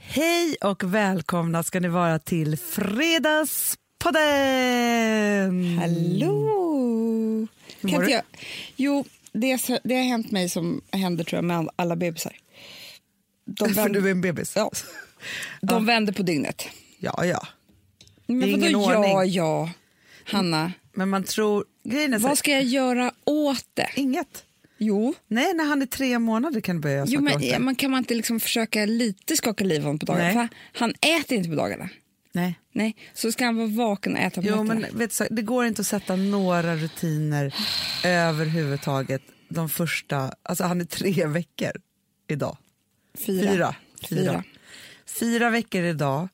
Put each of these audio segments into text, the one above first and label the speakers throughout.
Speaker 1: Hej och välkomna ska ni vara till Fredagspodden!
Speaker 2: Hallå!
Speaker 1: Hur
Speaker 2: Kan
Speaker 1: mår
Speaker 2: inte
Speaker 1: du?
Speaker 2: jag? Jo, det, är så- det har hänt mig som händer tror jag med alla bebisar. De
Speaker 1: För
Speaker 2: vänder,
Speaker 1: du är en bebis?
Speaker 2: ja, de
Speaker 1: Ja.
Speaker 2: vänder på dygnet.
Speaker 1: ja, ja.
Speaker 2: Men
Speaker 1: Det är ingen
Speaker 2: vadå ja,
Speaker 1: ordning.
Speaker 2: ja, Hanna?
Speaker 1: Men man tror... Grejen är så,
Speaker 2: Vad ska jag göra åt det?
Speaker 1: Inget.
Speaker 2: Jo,
Speaker 1: Nej, när han är tre månader kan du börja
Speaker 2: jo
Speaker 1: snacka
Speaker 2: men
Speaker 1: åt det.
Speaker 2: ja, man kan man inte liksom försöka lite skaka liv i honom på dagarna?
Speaker 1: Nej.
Speaker 2: För Han äter inte på dagarna.
Speaker 1: Nej.
Speaker 2: Nej, så ska han vara vaken och äta på
Speaker 1: Jo,
Speaker 2: nätterna.
Speaker 1: men vet du, så- det går inte att sätta några rutiner överhuvudtaget de första... Alltså han är tre veckor idag.
Speaker 2: Fyra.
Speaker 1: Fyra.
Speaker 2: Fyra.
Speaker 1: Fyra veckor idag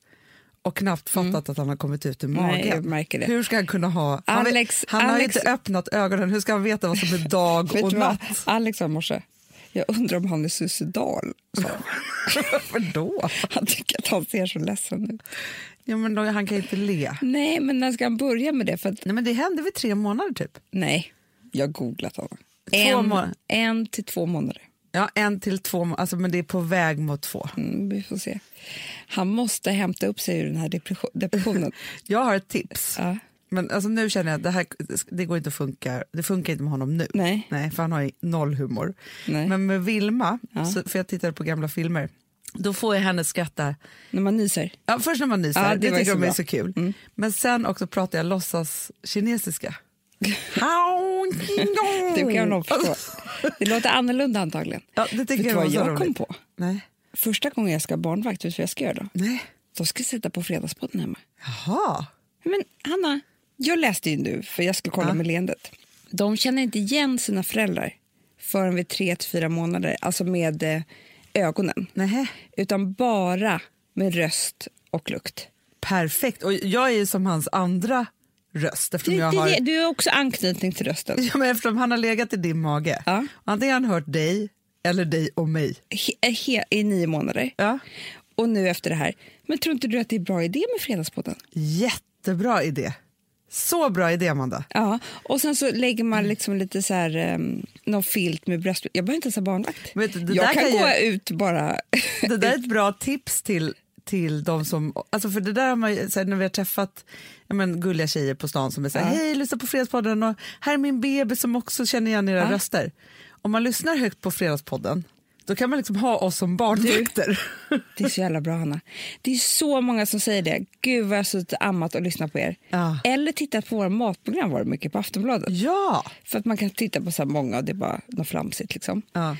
Speaker 1: och knappt fattat att han har kommit ut ur magen.
Speaker 2: Mm. Nej, jag märker det.
Speaker 1: Hur ska han kunna ha... han
Speaker 2: Alex-
Speaker 1: han har ju
Speaker 2: Alex-
Speaker 1: inte öppnat ögonen. Hur ska han veta vad som är dag
Speaker 2: Vet
Speaker 1: och
Speaker 2: du vad
Speaker 1: natt?
Speaker 2: Alex sa i morse? Jag undrar om han är suicidal. sa han.
Speaker 1: Varför då?
Speaker 2: Han tycker att han ser så ledsen ut.
Speaker 1: Ja, men då? Han kan ju inte le.
Speaker 2: Nej, men när ska han börja med det? För att,
Speaker 1: Nej, men det hände vid tre månader typ.
Speaker 2: nej, jag har googlat honom.
Speaker 1: Två
Speaker 2: En,
Speaker 1: månader.
Speaker 2: en till två månader.
Speaker 1: Ja, en till två, må- alltså, men det är på väg mot två.
Speaker 2: Mm, vi får se. Han måste hämta upp sig ur den här depression- depressionen.
Speaker 1: Jag har ett tips.
Speaker 2: ja.
Speaker 1: Men alltså, nu känner jag att det här det går inte att funka. Det funkar inte med honom nu.
Speaker 2: Nej.
Speaker 1: Nej, för han har ju noll humor.
Speaker 2: Nej.
Speaker 1: Men med Vilma,
Speaker 2: Ja.
Speaker 1: så, för jag tittade på gamla filmer, då får jag henne skratta.
Speaker 2: När man nyser.
Speaker 1: Ja, först när man nyser,
Speaker 2: Ja, det
Speaker 1: det,
Speaker 2: var Mm. ju
Speaker 1: tycker
Speaker 2: så
Speaker 1: de är
Speaker 2: bra.
Speaker 1: så kul. Men sen också pratar jag låtsas kinesiska. Hao,
Speaker 2: Det kan nog förstå. Det låter annorlunda antagligen.
Speaker 1: Ja, det tycker
Speaker 2: Vet du
Speaker 1: jag var
Speaker 2: vad
Speaker 1: så
Speaker 2: jag
Speaker 1: roligt.
Speaker 2: kom på?
Speaker 1: Nej.
Speaker 2: Första gången jag ska ha barnvakt, vet du vad jag ska göra då?
Speaker 1: Nej.
Speaker 2: Då ska jag sätta på Fredagspodden hemma.
Speaker 1: Jaha.
Speaker 2: Men Hanna, jag läste ju nu, för jag skulle kolla med leendet. De känner inte igen sina föräldrar förrän vid tre till fyra månader, alltså med eh, ögonen. Eh,
Speaker 1: Nej.
Speaker 2: Utan bara med röst och lukt.
Speaker 1: Perfekt. Och jag är ju som hans andra röst. Eftersom
Speaker 2: Du,
Speaker 1: jag
Speaker 2: det-
Speaker 1: har...
Speaker 2: det- du har också anknytning till rösten.
Speaker 1: Ja, men eftersom han har legat i din mage.
Speaker 2: Ja.
Speaker 1: Antingen har han hört dig eller dig och mig.
Speaker 2: He, eh, he, I nio månader.
Speaker 1: Ja.
Speaker 2: Och nu efter det här. Men tror inte du att det är bra idé med Fredagspodden?
Speaker 1: Jättebra idé. Så bra idé, Amanda.
Speaker 2: Ja, och sen så lägger man liksom lite så här, em, någon filt med bröst. Jag behöver inte ens ha barnvakt.
Speaker 1: Vet du, det där
Speaker 2: jag kan,
Speaker 1: kan ju-
Speaker 2: gå ut bara.
Speaker 1: Det där är ett bra tips till, till de som... Alltså för det där har man ju, så här, när vi har träffat ja, men, gulliga tjejer på stan som är så här,
Speaker 2: Ja.
Speaker 1: hej, lyssna på Fredagspodden och här är min bebis som också känner igen era
Speaker 2: Ja.
Speaker 1: röster. Om man lyssnar högt på Fredagspodden, då kan man liksom ha oss som barnvakter.
Speaker 2: Det är så jävla bra, Hanna. Det är så många som säger det. Gud, vad jag har suttit och ammat och lyssnat på er.
Speaker 1: Ja.
Speaker 2: Eller tittat på våra matprogram var det mycket på Aftonbladet.
Speaker 1: Ja!
Speaker 2: För att man kan titta på så här många och det är bara något flamsigt. Liksom.
Speaker 1: Ja.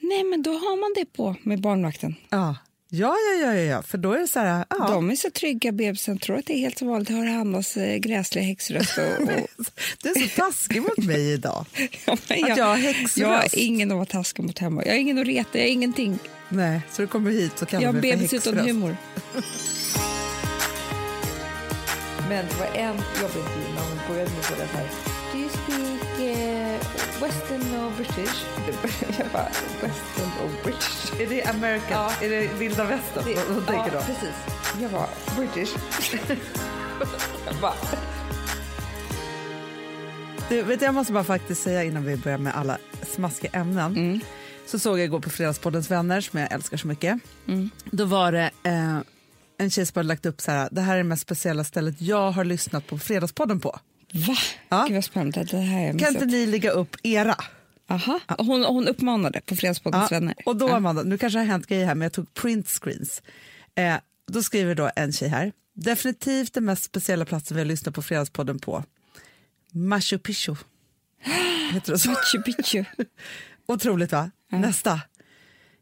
Speaker 2: Nej, men då har man det på med barnvakten.
Speaker 1: Ja. Ja, ja, ja, ja, ja, för då är det så här... Ja.
Speaker 2: De är så trygga, bebisen tror att det är helt som vanligt. Hör Hannas eh, gräsliga häxröst. Och, och...
Speaker 1: Du är så taskig mot mig idag.
Speaker 2: Ja, men
Speaker 1: Att jag har häxröst.
Speaker 2: Jag har ingen att vara taskig mot hemma. Jag har ingen att reta, jag har ingenting.
Speaker 1: Nej, så du kommer hit så kan
Speaker 2: jag har
Speaker 1: du mig för
Speaker 2: bebis utan
Speaker 1: häxröst.
Speaker 2: humor. Men det var en jobbig intervju när hon började med frågan här. Do you speak eh, western or british? jag bara, western or british?
Speaker 1: Är det American?
Speaker 2: Ja.
Speaker 1: Är det vilda västern?
Speaker 2: Det-
Speaker 1: Vad- vad tänker
Speaker 2: ja,
Speaker 1: du?
Speaker 2: precis. Jag var british. jag bara,
Speaker 1: Du, vet, du, jag måste bara faktiskt säga innan vi börjar med alla smaskiga ämnen. Så såg jag igår på Fredagspoddens vänner, som jag älskar så mycket. Då var det eh, en tjej som hade lagt upp så här, det här är det mest speciella stället jag har lyssnat på Fredagspodden på.
Speaker 2: va?
Speaker 1: Ja.
Speaker 2: Gud vad spännande, det här har jag
Speaker 1: Kan
Speaker 2: missat.
Speaker 1: inte ni lägga upp era?
Speaker 2: Aha. Hon, hon uppmanade på Fredagspoddens
Speaker 1: Ja,
Speaker 2: vänner.
Speaker 1: Och då
Speaker 2: Ja.
Speaker 1: Amanda, nu kanske det har hänt grejer här, men jag tog print screens. Eh, då skriver då en tjej här, definitivt den mest speciella platsen vi har lyssnat på Fredagspodden på. Machu Picchu. Heter det så?
Speaker 2: Machu Picchu.
Speaker 1: Otroligt va? Nästa.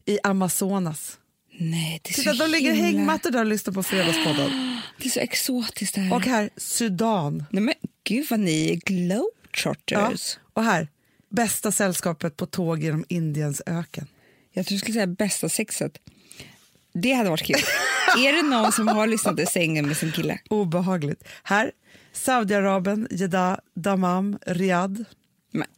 Speaker 1: I Amazonas.
Speaker 2: Nej, det är
Speaker 1: Titta,
Speaker 2: så
Speaker 1: de ligger i
Speaker 2: himla-
Speaker 1: hängmattor där och lyssnar på Fredagspodden.
Speaker 2: Det är så exotiskt det här.
Speaker 1: Och här, Sudan.
Speaker 2: Nej, men gud vad ni är
Speaker 1: Ja.
Speaker 2: glowtrotters.
Speaker 1: Och här, bästa sällskapet på tåg genom Indiens öken.
Speaker 2: Jag tror du skulle säga bästa sexet. Det hade varit kul. är det någon som har lyssnat i sängen med sin kille?
Speaker 1: Obehagligt. Här, Saudiarabien, Jeddah, Dammam, Riyadh.
Speaker 2: Men,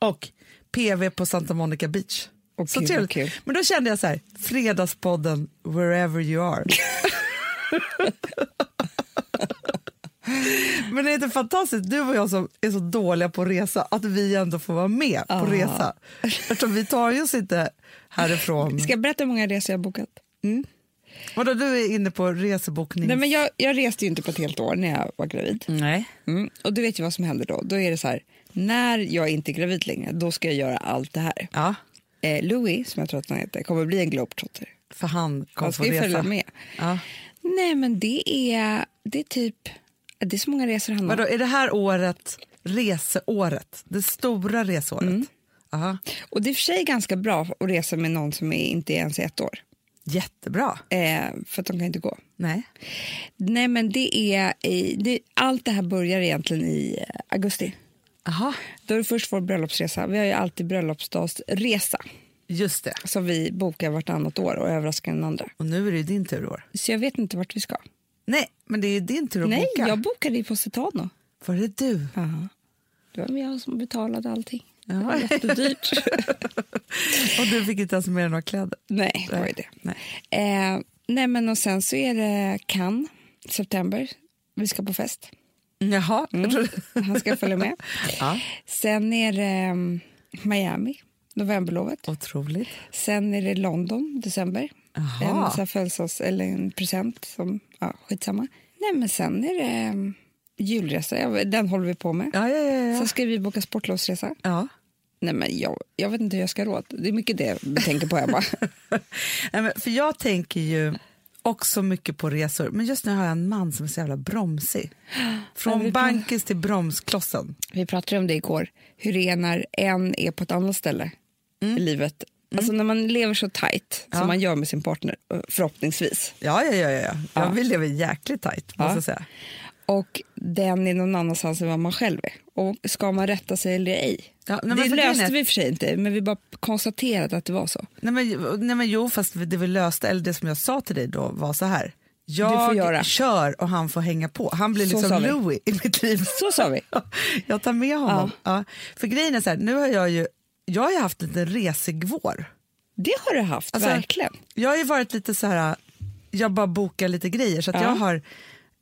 Speaker 1: och PV på Santa Monica Beach.
Speaker 2: Åh,
Speaker 1: så
Speaker 2: gud,
Speaker 1: trevligt.
Speaker 2: vad kul.
Speaker 1: Men då kände jag så här, Fredagspodden wherever you are. Men det är inte fantastiskt, du och jag som är så dåliga på att resa, att vi ändå får vara med på
Speaker 2: Ja.
Speaker 1: resa. Eftersom vi tar ju oss inte härifrån.
Speaker 2: ska jag berätta hur många resor jag har bokat?
Speaker 1: Vadå, du är inne på resebokning?
Speaker 2: Nej, men jag, jag reste ju inte på ett helt år när jag var gravid.
Speaker 1: Nej.
Speaker 2: Mm. Och du vet ju vad som händer då. Då är det så här, när jag inte är gravid längre, då ska jag göra allt det här.
Speaker 1: Ja,
Speaker 2: Eh, Louis, som jag tror att han heter, kommer bli en globetrotter.
Speaker 1: för han kom
Speaker 2: Han
Speaker 1: på
Speaker 2: ska ju
Speaker 1: resa.
Speaker 2: följa med.
Speaker 1: Ja.
Speaker 2: Nej, men det är, det är typ, det är så många resor han har.
Speaker 1: Vadå, är det här året reseåret? Det stora reseåret?
Speaker 2: Mm.
Speaker 1: Aha.
Speaker 2: Och det är i och för sig ganska bra att resa med någon som är, inte är ens är ett år.
Speaker 1: Jättebra.
Speaker 2: Eh, för att de kan inte gå.
Speaker 1: Nej.
Speaker 2: Nej, men det är, i, det, allt det här börjar egentligen i eh, augusti.
Speaker 1: Aha.
Speaker 2: Då är det först vår bröllopsresa. Vi har ju alltid bröllopsdagsresa
Speaker 1: Just det.
Speaker 2: som vi bokar vartannat år och överraskar den andra.
Speaker 1: Och nu är det ju din tur i år.
Speaker 2: Så jag vet inte vart vi ska.
Speaker 1: Nej, men det är ju din tur att
Speaker 2: Nej,
Speaker 1: boka.
Speaker 2: jag bokade i Positano.
Speaker 1: Var det du?
Speaker 2: Det var jag som betalade allting.
Speaker 1: Ja.
Speaker 2: Det var jättedyrt.
Speaker 1: Och du fick inte ens med dig några kläder?
Speaker 2: Nej, det var ju det.
Speaker 1: Nej.
Speaker 2: Eh, nej, men och sen så är det Cannes, september. Vi ska på fest. Mm.
Speaker 1: Jaha. jag trodde-
Speaker 2: Han ska följa med.
Speaker 1: Mm. Ja.
Speaker 2: Sen är det ehm, Miami, novemberlovet.
Speaker 1: Otroligt.
Speaker 2: Sen är det London, december.
Speaker 1: Jaha.
Speaker 2: En, så här födelsedags- eller en present. Som, ja, skitsamma. Nej, men sen är det ehm, julresa. Ja, Den håller vi på med.
Speaker 1: Ja, ja, ja. ja.
Speaker 2: Sen ska vi boka sportlovsresa.
Speaker 1: ja.
Speaker 2: Nej, men jag, jag vet inte hur jag ska ha råd. Det är mycket det vi tänker på hemma.
Speaker 1: Nej, men för jag tänker ju också mycket på resor, men just nu har jag en man som är så jävla bromsig.
Speaker 2: Men vi
Speaker 1: Från
Speaker 2: kan-
Speaker 1: bankis till bromsklossen.
Speaker 2: vi pratade om det igår. Hur det är när en är på ett annat ställe i livet. Alltså när man lever så tajt som man gör med sin partner, eh, förhoppningsvis.
Speaker 1: Ja, ja, ja. ja. ja.
Speaker 2: Ja.
Speaker 1: Jag vill leva jäkligt tajt, måste jag säga.
Speaker 2: och den är någon annanstans än vad man själv är. Och ska man rätta sig eller ej?
Speaker 1: Ja, nej, men
Speaker 2: det
Speaker 1: för grejen
Speaker 2: löste
Speaker 1: är-
Speaker 2: vi i och för sig inte, men vi bara konstaterade att det var så.
Speaker 1: Nej men, nej men jo, fast det vi löste, eller det som jag sa till dig då var så här.
Speaker 2: Du får
Speaker 1: Jag
Speaker 2: göra.
Speaker 1: kör och han får hänga på. Han blir
Speaker 2: Så sa
Speaker 1: liksom
Speaker 2: vi.
Speaker 1: Louis i mitt liv.
Speaker 2: Så sa vi.
Speaker 1: Jag tar med honom. Ja. För grejen är så här, nu har jag ju, jag har ju haft lite resig vår.
Speaker 2: Det har du haft,
Speaker 1: Alltså,
Speaker 2: verkligen.
Speaker 1: Jag har ju varit lite så här, jag bara bokar lite grejer så att
Speaker 2: Ja.
Speaker 1: jag har,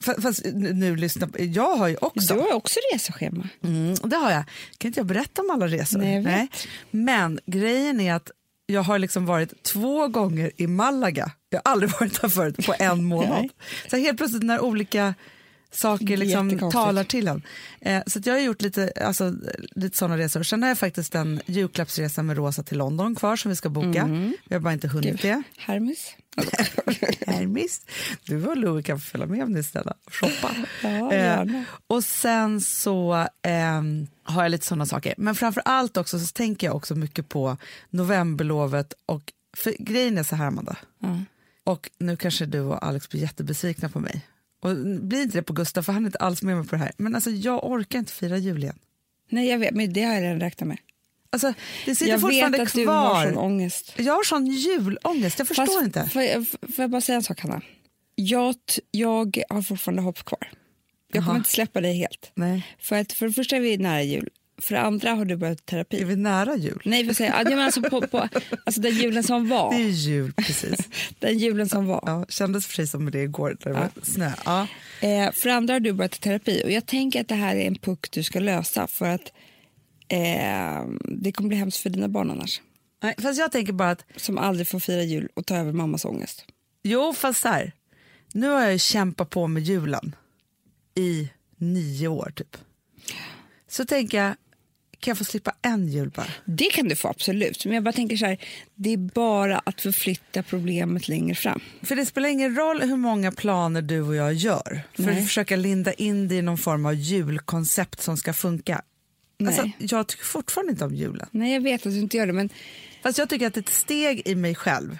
Speaker 1: fa- fast nu nu lyssna, på- jag har ju
Speaker 2: Du
Speaker 1: också,
Speaker 2: har också reseschema.
Speaker 1: mm, det har jag, kan inte jag berätta om alla resor?
Speaker 2: Nej, jag vet.
Speaker 1: Men grejen är att jag har liksom varit två gånger i Malaga, jag har aldrig varit där förut på en månad.
Speaker 2: Nej.
Speaker 1: så helt plötsligt när olika saker liksom
Speaker 2: Jättekonstigt.
Speaker 1: talar till en. Eh, så att jag har gjort lite, alltså, lite sådana resor. Sen har jag faktiskt en julklappsresa med Rosa till London kvar som vi ska boka.
Speaker 2: Mm.
Speaker 1: Vi har bara inte hunnit det.
Speaker 2: Hermes.
Speaker 1: Hermes. Du och Louie kan följa med om ni är snälla och shoppa.
Speaker 2: Ja, gärna.
Speaker 1: Eh, och sen så ehm, har jag lite sådana saker. Men framför allt också så tänker jag också mycket på novemberlovet och för grejen är så här Amanda. Och nu kanske du och Alex blir jättebesvikna på mig. Och blir inte det på Gustav för han är inte alls med mig på det här. Men alltså jag orkar inte fira jul igen.
Speaker 2: Nej, jag vet, men det har jag redan räknat med.
Speaker 1: Alltså det sitter
Speaker 2: jag vet
Speaker 1: fortfarande
Speaker 2: att du har sån
Speaker 1: kvar.
Speaker 2: ångest.
Speaker 1: Jag har sån julångest, jag förstår
Speaker 2: Fast,
Speaker 1: inte.
Speaker 2: Får jag, får jag bara säga en sak, Hanna? Jag, t- jag har fortfarande hopp kvar. Jag kommer inte släppa dig helt.
Speaker 1: Nej.
Speaker 2: För, att, för det första är vi nära jul, för det andra har du börjat terapi.
Speaker 1: Är vi nära jul?
Speaker 2: Nej, för säga, ja, men alltså, på, på, alltså den julen som
Speaker 1: Det är
Speaker 2: var.
Speaker 1: ju jul precis.
Speaker 2: Den julen som var.
Speaker 1: Ja, kändes precis som det igår när det var snö. Ja.
Speaker 2: Eh, för andra har du börjat i terapi och jag tänker att det här är en puck du ska lösa för att eh, det kommer bli hemskt för dina barn annars.
Speaker 1: Nej, fast jag tänker bara att,
Speaker 2: Som aldrig får fira jul och ta över mammas ångest.
Speaker 1: jo fast så här, nu har jag ju kämpat på med julen i nio år typ. Så tänker jag, kan jag få slippa en jul bara?
Speaker 2: Det kan du få absolut, men jag bara tänker så här, det är bara att förflytta problemet längre fram.
Speaker 1: För det spelar ingen roll hur många planer du och jag gör för att försöka linda in det i någon form av julkoncept som ska funka. Alltså,
Speaker 2: Nej.
Speaker 1: jag tycker fortfarande inte om julen.
Speaker 2: Nej, jag vet att du inte gör det, men
Speaker 1: Fast jag tycker att det är ett steg i mig själv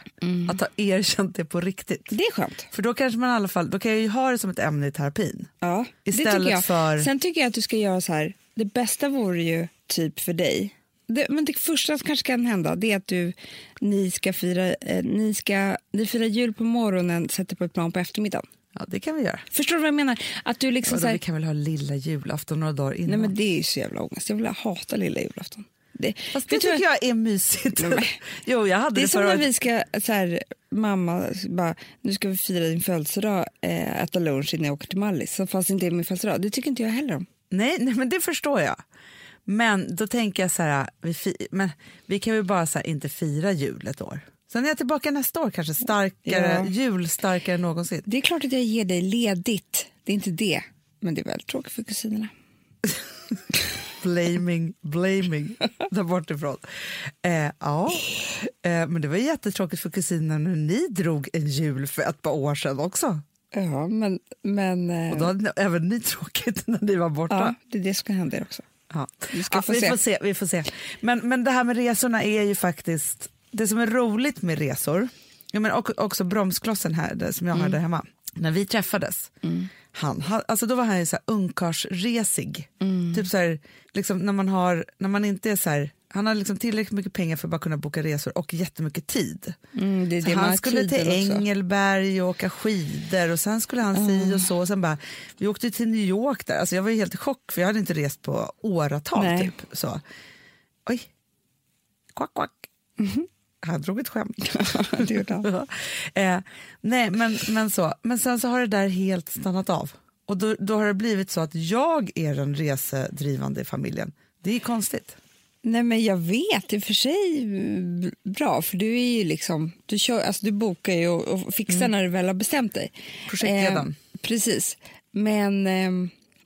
Speaker 1: att ha erkänt det på riktigt.
Speaker 2: det är skönt.
Speaker 1: För då kanske man i alla fall, då kan jag ju ha det som ett ämne i terapin.
Speaker 2: Ja,
Speaker 1: Istället
Speaker 2: det tycker jag.
Speaker 1: för-
Speaker 2: Sen tycker jag att du ska göra så här. Det bästa vore ju typ för dig. Det, men det första som kanske kan hända det är att du, ni ska fira eh, ni ska, ni firar jul på morgonen sätter på ett plan på eftermiddagen.
Speaker 1: Ja, det kan vi göra.
Speaker 2: Förstår du vad jag menar? Att du liksom
Speaker 1: Vadå,
Speaker 2: så här,
Speaker 1: vi kan väl ha lilla julafton några dagar
Speaker 2: Nej
Speaker 1: innan?
Speaker 2: men det är ju så jävla ångest. Jag vill hata lilla julafton. Det,
Speaker 1: Fast det
Speaker 2: vet du vad-
Speaker 1: tycker jag är mysigt.
Speaker 2: Nej, men-
Speaker 1: jo, jag hade
Speaker 2: det
Speaker 1: det,
Speaker 2: är som
Speaker 1: förra
Speaker 2: när
Speaker 1: året.
Speaker 2: vi ska, så här, mamma bara, nu ska vi fira din födelsedag, eh, äta lunch innan jag åker till Mallis. Så fast det inte är min födelsedag. Det tycker inte jag heller om.
Speaker 1: Nej, nej, men det förstår jag. Men då tänker jag så här, vi, fi- men vi kan väl bara så här, inte fira jul ett år. Sen är jag tillbaka nästa år kanske, starkare,
Speaker 2: Ja.
Speaker 1: jul starkare än någonsin.
Speaker 2: Det är klart att jag ger dig ledigt. Det är inte det. Men det är väldigt tråkigt för kusinerna.
Speaker 1: Blaming, blaming, där bortifrån. Eh, ja, eh, men det var jättetråkigt för kusinerna när ni drog en jul för ett par år sedan också.
Speaker 2: Ja, men... men eh,
Speaker 1: Och då hade ni, även ni tråkigt när ni var borta.
Speaker 2: ja, det är det som kan hända er också.
Speaker 1: Ja.
Speaker 2: Vi ska
Speaker 1: ja,
Speaker 2: få
Speaker 1: vi
Speaker 2: se.
Speaker 1: Får se, vi får se. Men, men det här med resorna är ju faktiskt, det som är roligt med resor, ja, men och, också bromsklossen här det som jag
Speaker 2: Mm.
Speaker 1: har där hemma, när vi träffades, han, han, alltså då var han ju så här ungkarlsresig.
Speaker 2: Mm.
Speaker 1: Typ så här, liksom när man har, när man inte är så här, han har liksom tillräckligt mycket pengar för att bara kunna boka resor och jättemycket tid.
Speaker 2: Mm, det är
Speaker 1: Så
Speaker 2: det man har
Speaker 1: han skulle till
Speaker 2: tiden också.
Speaker 1: Engelberg och åka skidor och sen skulle han
Speaker 2: Mm.
Speaker 1: si och så. Och sen bara, vi åkte ju till New York där. Alltså jag var ju helt i chock för jag hade inte rest på åratal
Speaker 2: Nej.
Speaker 1: typ. Så. Oj, kvack kvack.
Speaker 2: Mhm.
Speaker 1: Han drog ett skämt.
Speaker 2: det gjorde han.
Speaker 1: eh, nej, men, men, så. men sen så har det där helt stannat av. Och då, då har det blivit så att jag är den resedrivande i familjen. Det är konstigt.
Speaker 2: Nej, men jag vet. I och för sig b- bra, för du är ju liksom... Du, kör, alltså, du bokar ju och, och fixar när du väl har bestämt dig. Eh,
Speaker 1: Projektledaren.
Speaker 2: precis. Men eh,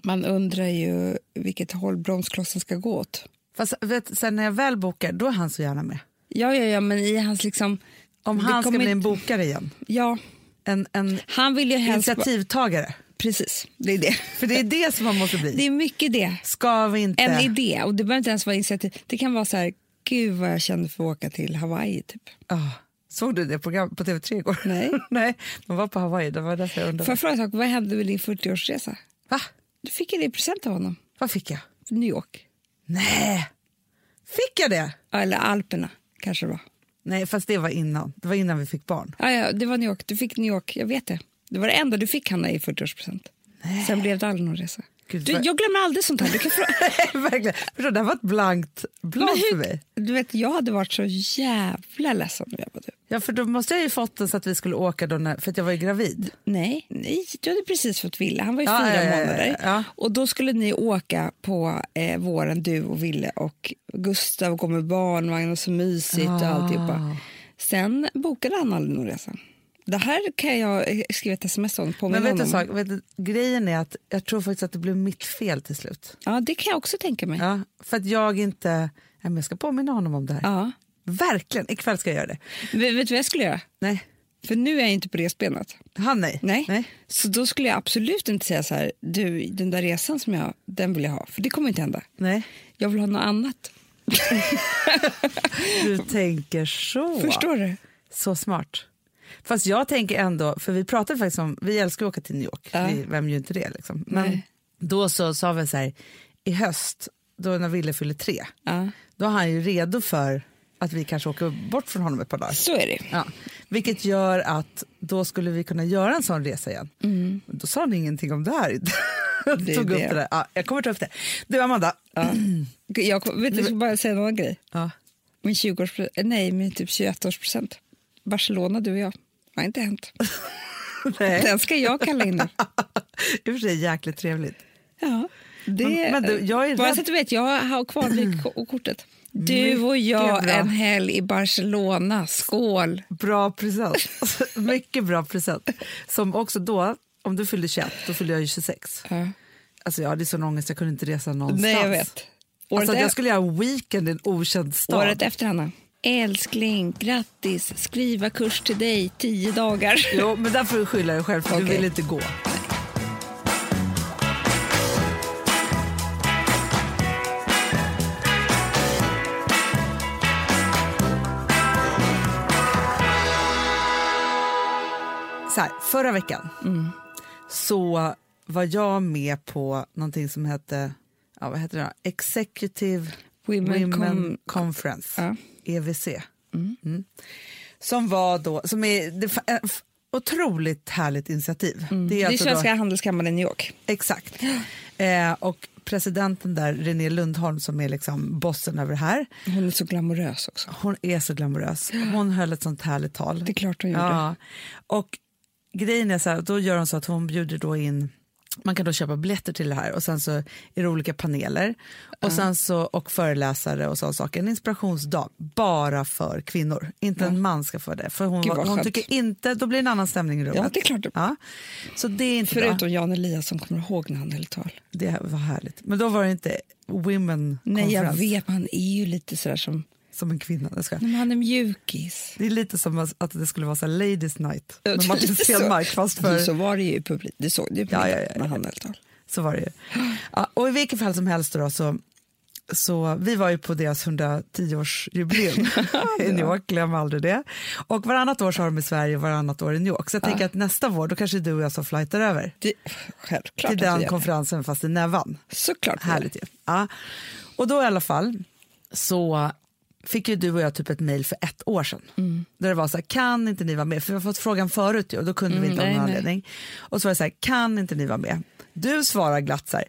Speaker 2: man undrar ju vilket håll bromsklossen ska gå åt.
Speaker 1: Fast vet, sen när jag väl bokar, då är han så gärna med.
Speaker 2: Ja, ja, ja, men i hans liksom...
Speaker 1: Om
Speaker 2: det
Speaker 1: han ska
Speaker 2: kommer
Speaker 1: bli en
Speaker 2: inte-
Speaker 1: bokare igen.
Speaker 2: Ja,
Speaker 1: En, en
Speaker 2: han vill ju helst... vara-
Speaker 1: initiativtagare.
Speaker 2: Precis, det är det.
Speaker 1: För det är det som man måste bli.
Speaker 2: Det är mycket det.
Speaker 1: Ska vi inte...
Speaker 2: En idé. Och det behöver inte ens vara initiativ. Det kan vara så här, gud vad jag känner för att åka till Hawaii typ.
Speaker 1: Ah, såg du det program på TV3 igår?
Speaker 2: Nej.
Speaker 1: Nej, man var på Hawaii. Det var därför jag undrade.
Speaker 2: Får jag fråga en sak, vad hände med din 40-årsresa?
Speaker 1: Va?
Speaker 2: Du fick en i present av honom,
Speaker 1: Vad fick jag?
Speaker 2: New York.
Speaker 1: Nej! Fick jag det?
Speaker 2: Ja, Eller Alperna kanske det var.
Speaker 1: Nej, fast det var innan. Det var innan vi fick barn.
Speaker 2: Ja, ja, det var New York, du fick New York, jag vet det. Det var det enda du fick Hanna i 40-årspresent. Sen blev det aldrig någon resa.
Speaker 1: Gud,
Speaker 2: du,
Speaker 1: vad-
Speaker 2: jag glömmer aldrig sånt här. Du, kan fråga.
Speaker 1: Verkligen. Förstår, det här var ett blankt blad
Speaker 2: Men hur-
Speaker 1: för mig.
Speaker 2: du vet, jag hade varit så jävla ledsen om jag var du.
Speaker 1: Ja, för då måste jag ju fått den så att vi skulle åka då när, för att jag var ju gravid.
Speaker 2: Nej, nej, du hade precis fått Ville. Han var ju
Speaker 1: Ja,
Speaker 2: fyra
Speaker 1: ja, ja, ja,
Speaker 2: månader.
Speaker 1: ja.
Speaker 2: Och då skulle ni åka på eh, våren, du och Ville och Gustav går med barnvagn och så mysigt och
Speaker 1: Ah.
Speaker 2: alltihopa. Sen bokade han aldrig någon resa. Det här kan jag eh, skriva ett sms om.
Speaker 1: Men
Speaker 2: påminna
Speaker 1: vet du en
Speaker 2: honom.
Speaker 1: sak? Vet du, grejen är att jag tror faktiskt att det blev mitt fel till slut.
Speaker 2: Ja, det kan jag också tänka mig. Ja.
Speaker 1: Ja, för att jag inte... Nej, men jag ska påminna honom om det här. Verkligen, ikväll ska jag göra det.
Speaker 2: Vet, vet du vad jag skulle göra?
Speaker 1: Nej,
Speaker 2: För nu är jag inte på resbenet.
Speaker 1: han nej.
Speaker 2: Nej.
Speaker 1: nej.
Speaker 2: Så då skulle jag absolut inte säga så här, du, den där resan som jag, den vill jag ha. För det kommer inte hända.
Speaker 1: Nej.
Speaker 2: Jag vill ha något annat.
Speaker 1: Du tänker så.
Speaker 2: Förstår du?
Speaker 1: Så smart. Fast jag tänker ändå, för vi pratade faktiskt om, vi älskar att åka till New York,
Speaker 2: Ja.
Speaker 1: vi, vem gör inte det liksom. Men
Speaker 2: Nej.
Speaker 1: då så sa vi så här, i höst, då när Ville fyller tre,
Speaker 2: Ja.
Speaker 1: då är han ju redo för att vi kanske åker bort från honom ett par dagar.
Speaker 2: Så är det.
Speaker 1: Ja. Vilket gör att då skulle vi kunna göra en sån resa igen. Men Då sa ni ingenting om det här. Jag
Speaker 2: Mm. Det är
Speaker 1: Tog
Speaker 2: det.
Speaker 1: upp det där. Ja, jag kommer ta upp det. Du Amanda,
Speaker 2: Jag, kom- vet, du, jag ska bara säga en annan grej.
Speaker 1: ja.
Speaker 2: Min 20 nej, min typ 21-årspresent. Barcelona, du och jag. Det har inte hänt.
Speaker 1: Nej.
Speaker 2: Den ska jag kalla in nu.
Speaker 1: I och för sig jäkligt trevligt.
Speaker 2: Ja, det,
Speaker 1: Men- men du, jag är
Speaker 2: bara
Speaker 1: rädd. Mm.
Speaker 2: så att du vet, jag har kvar vykortet. Du och jag
Speaker 1: bra.
Speaker 2: en helg i Barcelona. Skål!
Speaker 1: Bra present. Mycket bra present. Som också då, om du fyllde 21, då fyllde jag ju 26. Alltså jag hade sån ångest, jag kunde inte resa någonstans.
Speaker 2: Nej, jag vet. Året,
Speaker 1: Alltså att
Speaker 2: e-
Speaker 1: jag skulle göra en weekend i en okänd stad.
Speaker 2: året efter, Hanna. Älskling, grattis! Skriva kurs till dig, tio dagar.
Speaker 1: Jo, men där får du skylla dig själv, för du
Speaker 2: Okej.
Speaker 1: vill inte gå. Så här, förra veckan så var jag med på någonting som hette ja, vad heter det då? Executive
Speaker 2: Women
Speaker 1: Women,
Speaker 2: Con-
Speaker 1: Conference, E
Speaker 2: Ja.
Speaker 1: EVC. Mm som var då, som är det, fa- eh, f- otroligt härligt initiativ.
Speaker 2: Mm. Det är
Speaker 1: alltså
Speaker 2: Svenska handelskammaren i New York.
Speaker 1: Då, exakt. Eh, och presidenten där, René Lundholm, som är liksom bossen över det här,
Speaker 2: Hon är så glamorös också.
Speaker 1: hon är så glamorös. Hon höll ett sånt härligt tal.
Speaker 2: Det är klart hon gjorde.
Speaker 1: Ja. Och grejen är så här, då gör hon så att hon bjuder då in Man kan då köpa biljetter till det här och sen så är det olika paneler och, sen så, och föreläsare och sådana saker. En inspirationsdag bara för kvinnor. Inte en man ska få det. För hon,
Speaker 2: Gud, vad
Speaker 1: hon
Speaker 2: skönt.
Speaker 1: tycker inte, då blir det en annan stämning i rummet.
Speaker 2: Ja, det är klart.
Speaker 1: Ja. Så det är inte bra.
Speaker 2: Förutom Jan Eliasson kommer ihåg när han höll tal.
Speaker 1: Det var härligt. Men då var det inte women
Speaker 2: Nej, jag
Speaker 1: conference
Speaker 2: vet. men Han är ju lite sådär som...
Speaker 1: som en kvinna. Jag skojar.
Speaker 2: Nej, men han är mjukis.
Speaker 1: Det är lite som att det skulle vara så här ladies night
Speaker 2: Ja,
Speaker 1: med
Speaker 2: det
Speaker 1: Martin
Speaker 2: är så.
Speaker 1: Stenmark fast för
Speaker 2: Så var det ju i publiken. Det såg du på
Speaker 1: Ja, ja,
Speaker 2: middagen
Speaker 1: ja,
Speaker 2: när
Speaker 1: jag
Speaker 2: han höll tal.
Speaker 1: Så var det ju. Ja, och i vilket fall som helst då så, så vi var ju på deras 110-årsjubileum i New York, glöm aldrig det. Och varannat år så har de i Sverige, varannat år i New York. Så jag tänker att nästa vår då kanske du och jag som flightar över
Speaker 2: Det, självklart
Speaker 1: till
Speaker 2: att vi gör
Speaker 1: den
Speaker 2: det.
Speaker 1: konferensen fast i Nävan.
Speaker 2: Såklart. vi gör det.
Speaker 1: Härligt ju. Ja. Och då i alla fall så fick ju du och jag typ ett mejl för ett år sedan.
Speaker 2: Mm.
Speaker 1: Där det var så här, kan inte ni vara med? För vi har fått frågan förut ju, och då kunde vi inte av
Speaker 2: Mm, nej,
Speaker 1: någon
Speaker 2: nej.
Speaker 1: anledning. Och så var det så här, kan inte ni vara med? Du svarar glatt så här,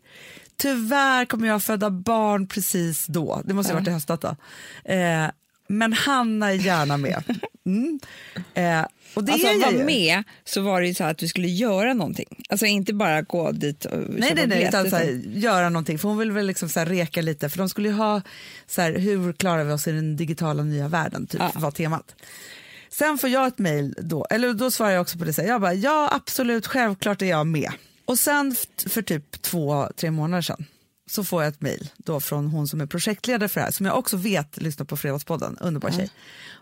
Speaker 1: tyvärr kommer jag föda barn precis då. Det måste ha varit i höstas då. Eh, men Hanna är gärna med. Mm. Eh, och det
Speaker 2: alltså
Speaker 1: är jag
Speaker 2: var
Speaker 1: ju.
Speaker 2: med så var det ju så här att vi skulle göra någonting. Alltså inte bara gå dit och
Speaker 1: Nej,
Speaker 2: köpa
Speaker 1: nej, nej,
Speaker 2: biljett,
Speaker 1: utan så här,
Speaker 2: utan-
Speaker 1: göra någonting. För hon vill väl liksom så här, reka lite, för de skulle ju ha så här, hur klarar vi oss i den digitala nya världen, typ,
Speaker 2: Ja.
Speaker 1: var temat. Sen får jag ett mejl då, eller då svarar jag också på det, så här, jag bara, ja absolut, självklart är jag med. Och sen f- för typ två, tre månader sedan så får jag ett mejl då från hon som är projektledare för det här, som jag också vet lyssnar på Fredagspodden, underbar
Speaker 2: Mm.
Speaker 1: tjej.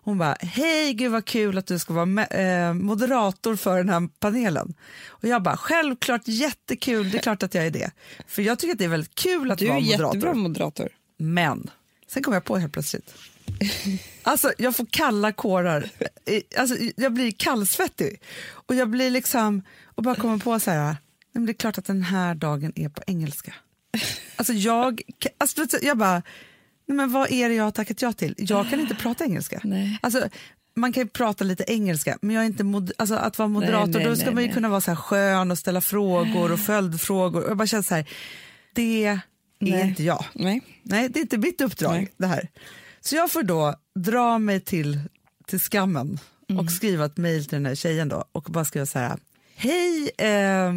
Speaker 1: Hon bara, hej gud vad kul att du ska vara med, eh, moderator för den här panelen. Och jag bara, självklart jättekul, det är klart att jag är det. För jag tycker att det är väldigt kul att
Speaker 2: Du är
Speaker 1: vara moderator.
Speaker 2: jättebra moderator.
Speaker 1: Men sen kom jag på helt plötsligt. Alltså jag får kalla kårar, I- alltså, jag blir kallsvettig och jag blir liksom och bara kommer på så här, nej, men det är klart att den här dagen är på engelska. Alltså jag, alltså, vet du, jag bara, nej, men vad är det jag har tackat ja till? Jag kan inte prata engelska.
Speaker 2: Nej.
Speaker 1: Alltså, man kan ju prata lite engelska, men jag är inte mod- alltså, att vara moderator,
Speaker 2: nej,
Speaker 1: då ska
Speaker 2: nej,
Speaker 1: man ju
Speaker 2: nej.
Speaker 1: kunna vara så här skön och ställa frågor och följdfrågor. Jag bara känner så här, det är
Speaker 2: Nej.
Speaker 1: inte jag.
Speaker 2: Nej.
Speaker 1: Nej, det är inte mitt uppdrag
Speaker 2: Nej.
Speaker 1: det här. Så jag får då dra mig till, till skammen och skriva ett mejl till den här tjejen då och bara skriva så här. Hej, eh,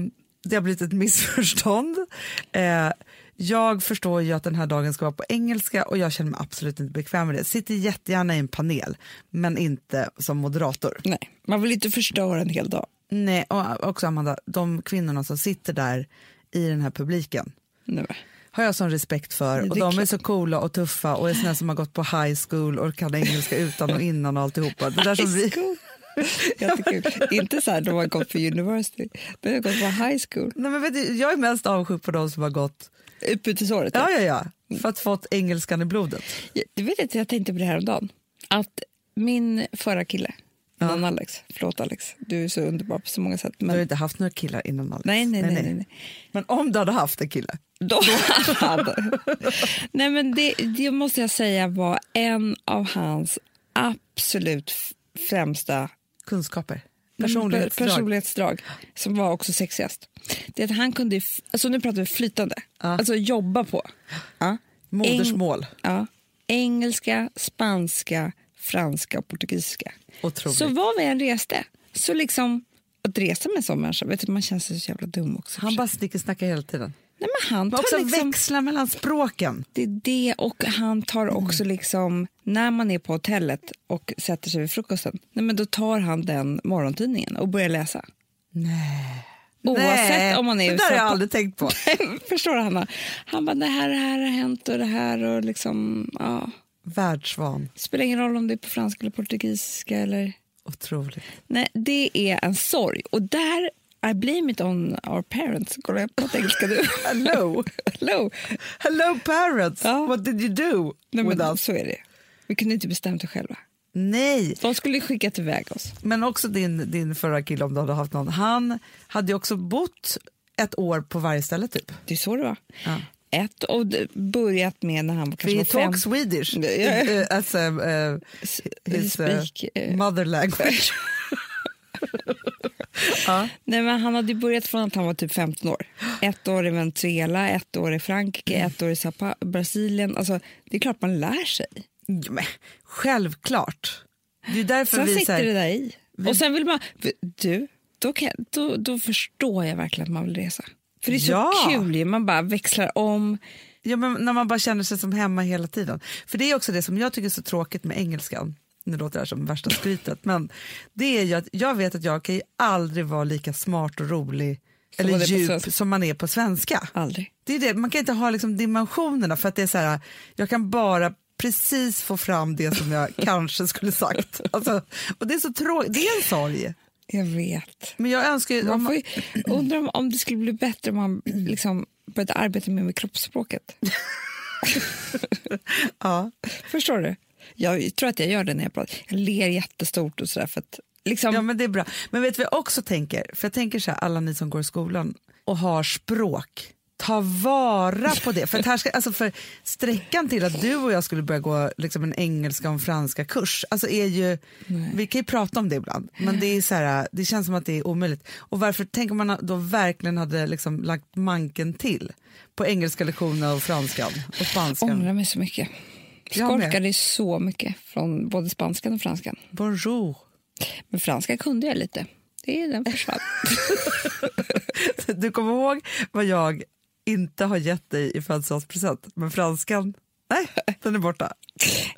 Speaker 1: det har blivit ett missförstånd. Eh, jag förstår ju att den här dagen ska vara på engelska och jag känner mig absolut inte bekväm med det. Sitter jättegärna i en panel, men inte som moderator.
Speaker 2: nej, man vill inte förstöra en hel dag.
Speaker 1: Nej, och också Amanda, de kvinnorna som sitter där i den här publiken,
Speaker 2: Nej.
Speaker 1: har jag sån respekt för.
Speaker 2: det
Speaker 1: Och
Speaker 2: är
Speaker 1: de är
Speaker 2: klart.
Speaker 1: så coola och tuffa och är såna som har gått på high school och kan engelska utan och innan och alltihopa. Det där som vi,
Speaker 2: Jättekul. inte så här de har gått på university, de har gått på high school.
Speaker 1: nej men vet du, jag är mest avundsjuk på de som har gått
Speaker 2: Utbytesåret.
Speaker 1: ja, ja, ja, för att fått engelskan i blodet.
Speaker 2: Jag- Du vet att jag tänkte på det här om dagen. Att min förra kille, ja. Alex, förlåt Alex, du är så underbar på så många sätt.
Speaker 1: Du har
Speaker 2: Men,
Speaker 1: ju inte haft några killar innan Alex.
Speaker 2: nej, nej, nej, nej, nej.
Speaker 1: Men om du hade haft en kille.
Speaker 2: Då hade. Nej, men det, det måste jag säga var en av hans absolut f- främsta
Speaker 1: Kunskaper,
Speaker 2: Mm, per-
Speaker 1: personlighetsdrag.
Speaker 2: personlighetsdrag som var också sexigast. Det är att han kunde, f- alltså nu pratar vi flytande, alltså jobba på. Ja.
Speaker 1: Modersmål.
Speaker 2: Ja. Engelska, spanska, franska och portugisiska.
Speaker 1: Otroligt.
Speaker 2: Så var vi än reste, så liksom att resa med en sån människa, vet du, man känns så jävla dum också.
Speaker 1: Han bara snickersnackar hela tiden.
Speaker 2: Nej, men han
Speaker 1: Men
Speaker 2: tar
Speaker 1: också
Speaker 2: liksom,
Speaker 1: växla mellan språken.
Speaker 2: det är det och han tar
Speaker 1: Mm.
Speaker 2: också liksom, när man är på hotellet och sätter sig vid frukosten, nej, men då tar han den morgontidningen och börjar läsa. Nej. Oavsett
Speaker 1: Nej,
Speaker 2: om man är i
Speaker 1: det där har
Speaker 2: USA
Speaker 1: jag
Speaker 2: på-
Speaker 1: aldrig tänkt på.
Speaker 2: Förstår du, Hanna? Han bara, det här, det här har hänt och det här och liksom, ja.
Speaker 1: Världsvan,
Speaker 2: Spelar ingen roll om det är på franska eller portugisiska eller...
Speaker 1: otroligt.
Speaker 2: Nej, det är en sorg. Och där, I blame it on our parents. Kollar jag på engelska nu?
Speaker 1: Hello.
Speaker 2: Hello!
Speaker 1: Hello parents,
Speaker 2: Ja.
Speaker 1: what did you do
Speaker 2: Nej,
Speaker 1: with
Speaker 2: men
Speaker 1: us?
Speaker 2: så är det. Vi kunde inte bestämt det själva.
Speaker 1: Nej,
Speaker 2: De skulle skicka iväg oss.
Speaker 1: men också din, din förra kille om du hade haft någon, han hade ju också bott ett år på varje ställe typ.
Speaker 2: Det är så det var.
Speaker 1: Ja.
Speaker 2: Ett, och det börjat med när han kanske
Speaker 1: We
Speaker 2: var fem.
Speaker 1: talk Swedish
Speaker 2: Ja, ja.
Speaker 1: eh, as a, eh, his eh,
Speaker 2: Speak, eh,
Speaker 1: mother language. ja.
Speaker 2: Nej, men han hade ju börjat från att han var typ 15 år. Ett år i Venezuela, ett år i Frankrike, ett år i Zapa, Brasilien. Alltså, det är klart man lär sig.
Speaker 1: Ja, men, självklart. Det är ju därför
Speaker 2: Sen
Speaker 1: vi så
Speaker 2: sitter det
Speaker 1: här,
Speaker 2: där i. Och sen vill man... Du, då, kan, då, då förstår jag verkligen att man vill resa. För det är så
Speaker 1: Ja.
Speaker 2: kul ju. Man bara växlar om.
Speaker 1: Ja, men när man bara känner sig som hemma hela tiden. För det är också det som jag tycker är så tråkigt med engelskan. Nu låter det här som värsta skrytet, men det är ju att jag vet att jag kan ju aldrig vara lika smart och rolig
Speaker 2: Som man
Speaker 1: eller
Speaker 2: är på svenska.
Speaker 1: djup som man är på svenska.
Speaker 2: Aldrig.
Speaker 1: Det är det. Man kan inte ha liksom dimensionerna för att det är så här, jag kan bara precis få fram det som jag kanske skulle sagt. Alltså, och det är så tråkigt, det är en sorg.
Speaker 2: Jag vet.
Speaker 1: Men jag önskar ju, om
Speaker 2: Man får ju, undrar om, om det skulle bli bättre om man liksom började arbeta mer med kroppsspråket.
Speaker 1: ja.
Speaker 2: Förstår du? Jag tror att jag gör det när jag pratar. Jag ler jättestort och sådär för att liksom...
Speaker 1: Ja, men det är bra. Men vet du vad jag också tänker? För jag tänker så här, alla ni som går i skolan och har språk, ta vara på det. För, att här ska, alltså för sträckan till att du och jag skulle börja gå liksom en engelska och en franska kurs, alltså är ju, vi kan ju prata om det ibland, men det, är så här, det känns som att det är omöjligt. Och varför, tänk om man då verkligen hade liksom lagt manken till på engelska lektionen och franskan och spanskan.
Speaker 2: ångrar mig så mycket.
Speaker 1: Jag med.
Speaker 2: Skolkade så mycket från både spanskan och franskan.
Speaker 1: Bonjour.
Speaker 2: Men franska kunde jag lite. Det är den försvann.
Speaker 1: Du kommer ihåg vad jag inte har gett dig i födelsedagspresent, men franskan, nej, den är borta.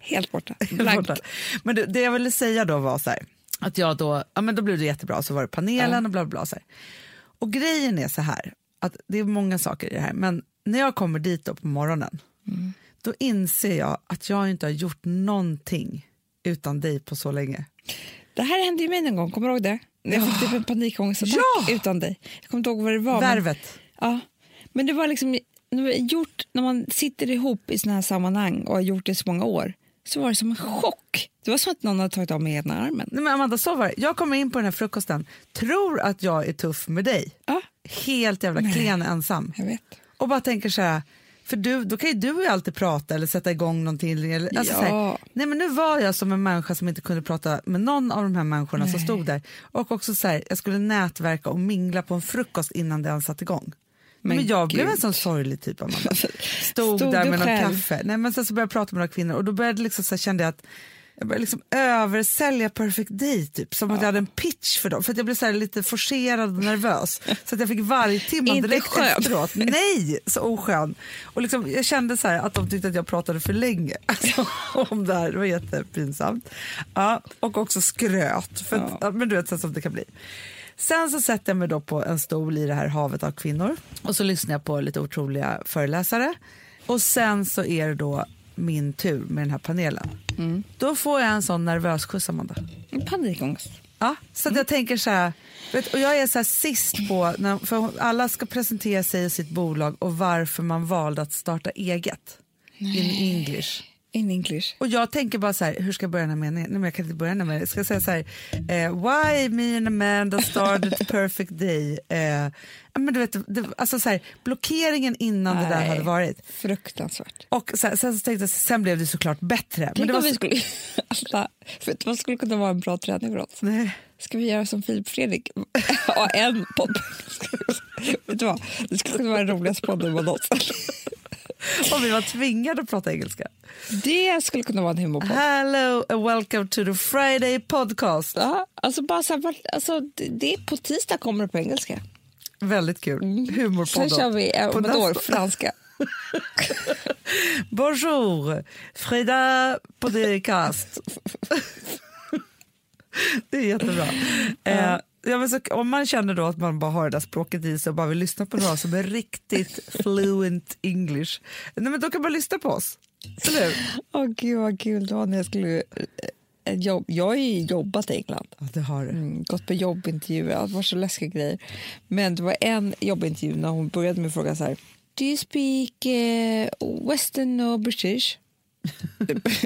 Speaker 2: Helt borta.
Speaker 1: Den är
Speaker 2: Blankt.
Speaker 1: borta. Men det, det jag ville säga då var så här, att jag då, ja men då blev det jättebra, så var det panelen och bla bla bla. Så här. Och grejen är så här, att det är många saker i det här, men när jag kommer dit då på morgonen, då inser jag att jag inte har gjort någonting utan dig på så länge.
Speaker 2: Det här hände ju mig en gång, kommer du ihåg det? När Jag fick typ en panikångestattack
Speaker 1: Ja!
Speaker 2: utan dig. Jag kommer inte ihåg vad det var. Men,
Speaker 1: Värvet.
Speaker 2: ja. men det var liksom det var gjort, när man sitter ihop i såna här sammanhang och har gjort det i så många år, så var det som en chock. Det var som att någon hade tagit av mig ena armen.
Speaker 1: Nej men Amanda, så var det. Jag kommer in på den här frukosten, tror att jag är tuff med dig.
Speaker 2: Ja,
Speaker 1: helt jävla klen ensam
Speaker 2: jag vet.
Speaker 1: och bara tänker så här, för du, då kan ju du och jag alltid prata eller sätta igång någonting. Eller, alltså
Speaker 2: Ja.
Speaker 1: så här, nej men nu var jag som en människa som inte kunde prata med någon av de här människorna som stod där. Och också så här, jag skulle nätverka och mingla på en frukost innan den satt igång. Men,
Speaker 2: Men
Speaker 1: jag blev
Speaker 2: gud.
Speaker 1: en sån sorglig typ av mamma. Stod,
Speaker 2: Stod
Speaker 1: där
Speaker 2: du
Speaker 1: med någon
Speaker 2: själv?
Speaker 1: kaffe. Nej, men sen så började jag prata med några kvinnor och då började liksom så här, kände jag att jag började liksom översälja Perfect Day, typ. som att jag hade en pitch för dem. För att Jag blev så här lite forcerad och nervös. Så att jag fick vargtimman
Speaker 2: Inte
Speaker 1: direkt
Speaker 2: skön.
Speaker 1: efteråt. Nej, så oskön. Och liksom, jag kände så här att de tyckte att jag pratade för länge alltså, om det här. Det var jättepinsamt. Ja, och också skröt. För att,
Speaker 2: Ja.
Speaker 1: ja, men du vet så som det kan bli. Sen så sätter jag mig då på en stol i det här havet av kvinnor och så lyssnar jag på lite otroliga föreläsare. Och sen så är det då min tur med den här panelen.
Speaker 2: Mm.
Speaker 1: Då får jag en sån nervös skjuts, Amanda.
Speaker 2: En panikångest.
Speaker 1: Ja, så att
Speaker 2: Mm.
Speaker 1: jag tänker så här, vet, och jag är så här sist på, när, för alla ska presentera sig och sitt bolag och varför man valde att starta eget in English.
Speaker 2: In English.
Speaker 1: Och jag tänker bara så här, hur ska jag börja den här meningen? Nej, men jag kan inte börja den här meningen. Jag ska säga så här, eh, why me and Amanda started a perfect day. Eh, ja, men du vet, det, alltså så här, blockeringen innan det där
Speaker 2: Nej.
Speaker 1: hade varit.
Speaker 2: Fruktansvärt.
Speaker 1: Och så här, sen så tänkte jag, sen blev det såklart bättre. Men
Speaker 2: Tänk
Speaker 1: det var
Speaker 2: om vi
Speaker 1: så,
Speaker 2: skulle... Alla, vet du vad skulle kunna vara en bra träning för oss?
Speaker 1: nej,
Speaker 2: Ska vi göra som Filip Fredrik? Ha en podd. vet du vad? Det skulle kunna vara den roligaste podden man någonsin.
Speaker 1: och vi var tvingade att prata engelska.
Speaker 2: Det skulle kunna vara en humorpodd.
Speaker 1: Hello and welcome to the Friday podcast.
Speaker 2: Ja, alltså bara så här, vart- alltså, det, det är på tisdag kommer det på engelska.
Speaker 1: Väldigt kul.
Speaker 2: Sen
Speaker 1: Humorpodden.
Speaker 2: Mm. kör vi eh,
Speaker 1: På
Speaker 2: om ett år
Speaker 1: nästa-
Speaker 2: franska.
Speaker 1: Bonjour, Frida podcast. det är jättebra. Eh, ja, men så, om man känner då att man bara har det där språket i sig och bara vill lyssna på några som är riktigt fluent English, eh, Nej, men då kan man lyssna på oss. Eller hur?
Speaker 2: Åh gud vad kul det var när jag skulle... eh, Jobb, jag har ju jobbat i England.
Speaker 1: Ja, det har du.
Speaker 2: Mm, gått på jobbintervjuer, allt var så läskiga grejer. Men det var en jobbintervju när hon började med frågan så här. Do you speak eh, western or British?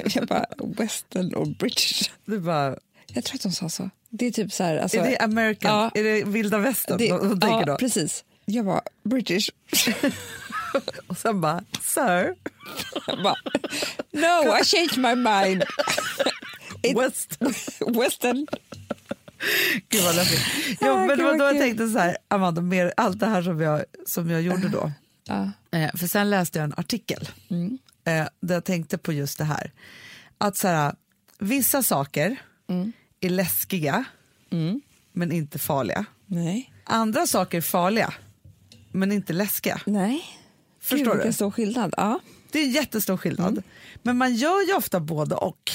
Speaker 2: jag bara, western or British?
Speaker 1: Det är, bara,
Speaker 2: Jag tror att de sa så. Det är typ så här. Alltså,
Speaker 1: är det American?
Speaker 2: Ja.
Speaker 1: Är det vilda västern?
Speaker 2: det-
Speaker 1: de, de
Speaker 2: ja,
Speaker 1: tänker då?
Speaker 2: precis. Jag bara, British.
Speaker 1: Och sen bara, sir,
Speaker 2: Jag bara, no, I changed my mind. It-
Speaker 1: west.
Speaker 2: western.
Speaker 1: Gud vad läskigt.
Speaker 2: Ah,
Speaker 1: Ja, men
Speaker 2: gud,
Speaker 1: det var
Speaker 2: vad
Speaker 1: då jag
Speaker 2: kul.
Speaker 1: tänkte så här, Amanda, med allt det här som jag, som jag gjorde då.
Speaker 2: Ja.
Speaker 1: Eh, för sen läste jag en artikel
Speaker 2: Mm.
Speaker 1: eh, där jag tänkte på just det här. Att så här, vissa saker
Speaker 2: Mm.
Speaker 1: är läskiga men inte farliga.
Speaker 2: Nej.
Speaker 1: Andra saker är farliga men inte läskiga.
Speaker 2: Nej.
Speaker 1: Förstår
Speaker 2: Gud, vilken Mm.
Speaker 1: du?
Speaker 2: stor skillnad. Ja.
Speaker 1: Det är en jättestor skillnad. Men man gör ju ofta både och.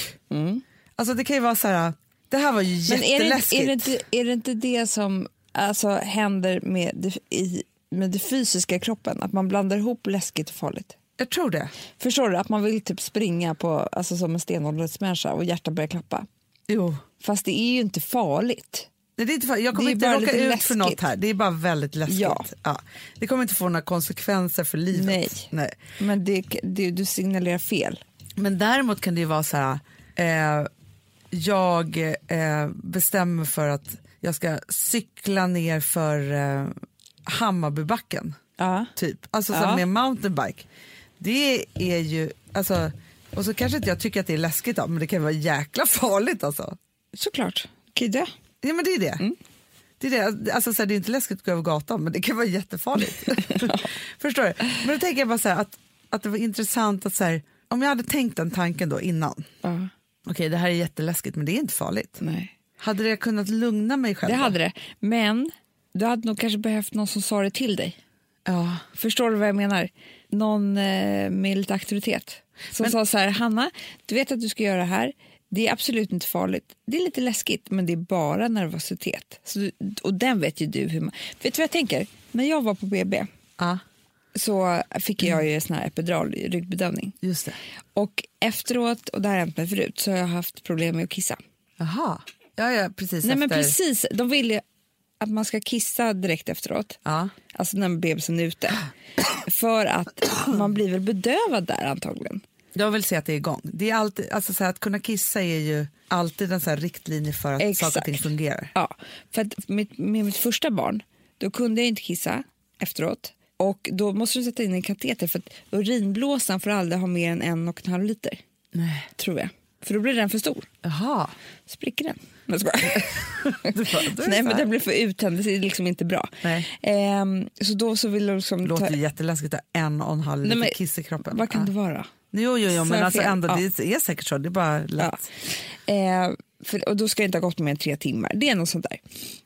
Speaker 1: Alltså det kan ju vara så här, det här var ju
Speaker 2: Mm. Men är det,
Speaker 1: jätteläskigt.
Speaker 2: inte- är, det inte, är det inte det som alltså, händer med det, i, med det fysiska kroppen? Att man blandar ihop läskigt och farligt?
Speaker 1: Jag tror det.
Speaker 2: Förstår du? Att man vill typ springa på, alltså, som en stenåldersmänniska och hjärtat börjar klappa.
Speaker 1: Jo.
Speaker 2: Fast det är ju inte farligt.
Speaker 1: Nej, det är inte far- jag kommer
Speaker 2: Det är bara
Speaker 1: inte råka
Speaker 2: lite
Speaker 1: ut för
Speaker 2: läskigt.
Speaker 1: något här. Det är bara väldigt läskigt.
Speaker 2: Ja.
Speaker 1: Det kommer inte få några konsekvenser för livet.
Speaker 2: Nej.
Speaker 1: Nej.
Speaker 2: Men det, det, du signalerar fel.
Speaker 1: Men däremot kan det ju vara så här, eh, jag eh, bestämmer för att jag ska cykla ner för eh, Hammarbybacken,
Speaker 2: Ja.
Speaker 1: typ. Alltså så
Speaker 2: Ja.
Speaker 1: här med mountainbike. Det är ju, alltså, och så kanske inte jag tycker att det är läskigt då, men det kan vara jäkla farligt alltså.
Speaker 2: Såklart. Kidda.
Speaker 1: Ja men det är det.
Speaker 2: Mm.
Speaker 1: Det är, det. Alltså, så här, det är inte läskigt att gå över gatan men det kan vara jättefarligt. Förstår du? Men då tänker jag bara så här, att, att det var intressant att så här, om jag hade tänkt den tanken då innan.
Speaker 2: Ja.
Speaker 1: Okej det här är jätteläskigt men det är inte farligt.
Speaker 2: Nej.
Speaker 1: Hade det kunnat lugna mig själv?
Speaker 2: Mm. Det
Speaker 1: då?
Speaker 2: hade det. Men du hade nog kanske behövt någon som sa det till dig.
Speaker 1: Ja.
Speaker 2: Förstår du vad jag menar? Någon eh, med lite auktoritet. Som sa så här, Hanna, du vet att du ska göra det här. Det är absolut inte farligt. Det är lite läskigt, men det är bara nervositet. Så du, och den vet ju du hur man... Vet du vad jag tänker? När jag var på BB
Speaker 1: ja,
Speaker 2: så fick jag ju en sån här epidural ryggbedövning.
Speaker 1: just det.
Speaker 2: Och efteråt, och det här har hänt mig förut, så har jag haft problem med att kissa.
Speaker 1: Jaha, ja, ja precis
Speaker 2: Nej
Speaker 1: efter.
Speaker 2: men precis, de vill ju att man ska kissa direkt efteråt.
Speaker 1: Ja.
Speaker 2: Alltså när bebisen är ute. För att man blir väl bedövad där antagligen.
Speaker 1: Jag vill se att det är igång. Det är alltid, alltså, så här, att kunna kissa är ju alltid en så här, riktlinje för att saker och ting
Speaker 2: Exakt.
Speaker 1: fungerar.
Speaker 2: Ja, för att med, med mitt första barn, då kunde jag inte kissa efteråt. Och då måste du sätta in en kateter för att urinblåsan får aldrig ha mer än en och en halv liter.
Speaker 1: Nej.
Speaker 2: Tror jag. För då blir den för stor.
Speaker 1: Jaha.
Speaker 2: Spricker den? Nej, jag skojar.
Speaker 1: Du bara, då är det
Speaker 2: Nej
Speaker 1: så
Speaker 2: men
Speaker 1: här.
Speaker 2: den blir för uttänd, det är liksom inte bra.
Speaker 1: Nej.
Speaker 2: Ehm, så då så vill jag liksom...
Speaker 1: Det låter
Speaker 2: ta-
Speaker 1: ju jätteläskigt att ha en och en halv
Speaker 2: Nej,
Speaker 1: liter
Speaker 2: men-
Speaker 1: kiss i kroppen.
Speaker 2: Vad kan
Speaker 1: ja.
Speaker 2: det vara?
Speaker 1: Jo, jo, jo
Speaker 2: Sa
Speaker 1: men
Speaker 2: jag
Speaker 1: alltså
Speaker 2: fel?
Speaker 1: ändå,
Speaker 2: Ja.
Speaker 1: det är säkert så. Det är bara
Speaker 2: Ja.
Speaker 1: lätt.
Speaker 2: Eh, för, och då ska det inte ha gått mer än tre timmar. Det är något sånt där.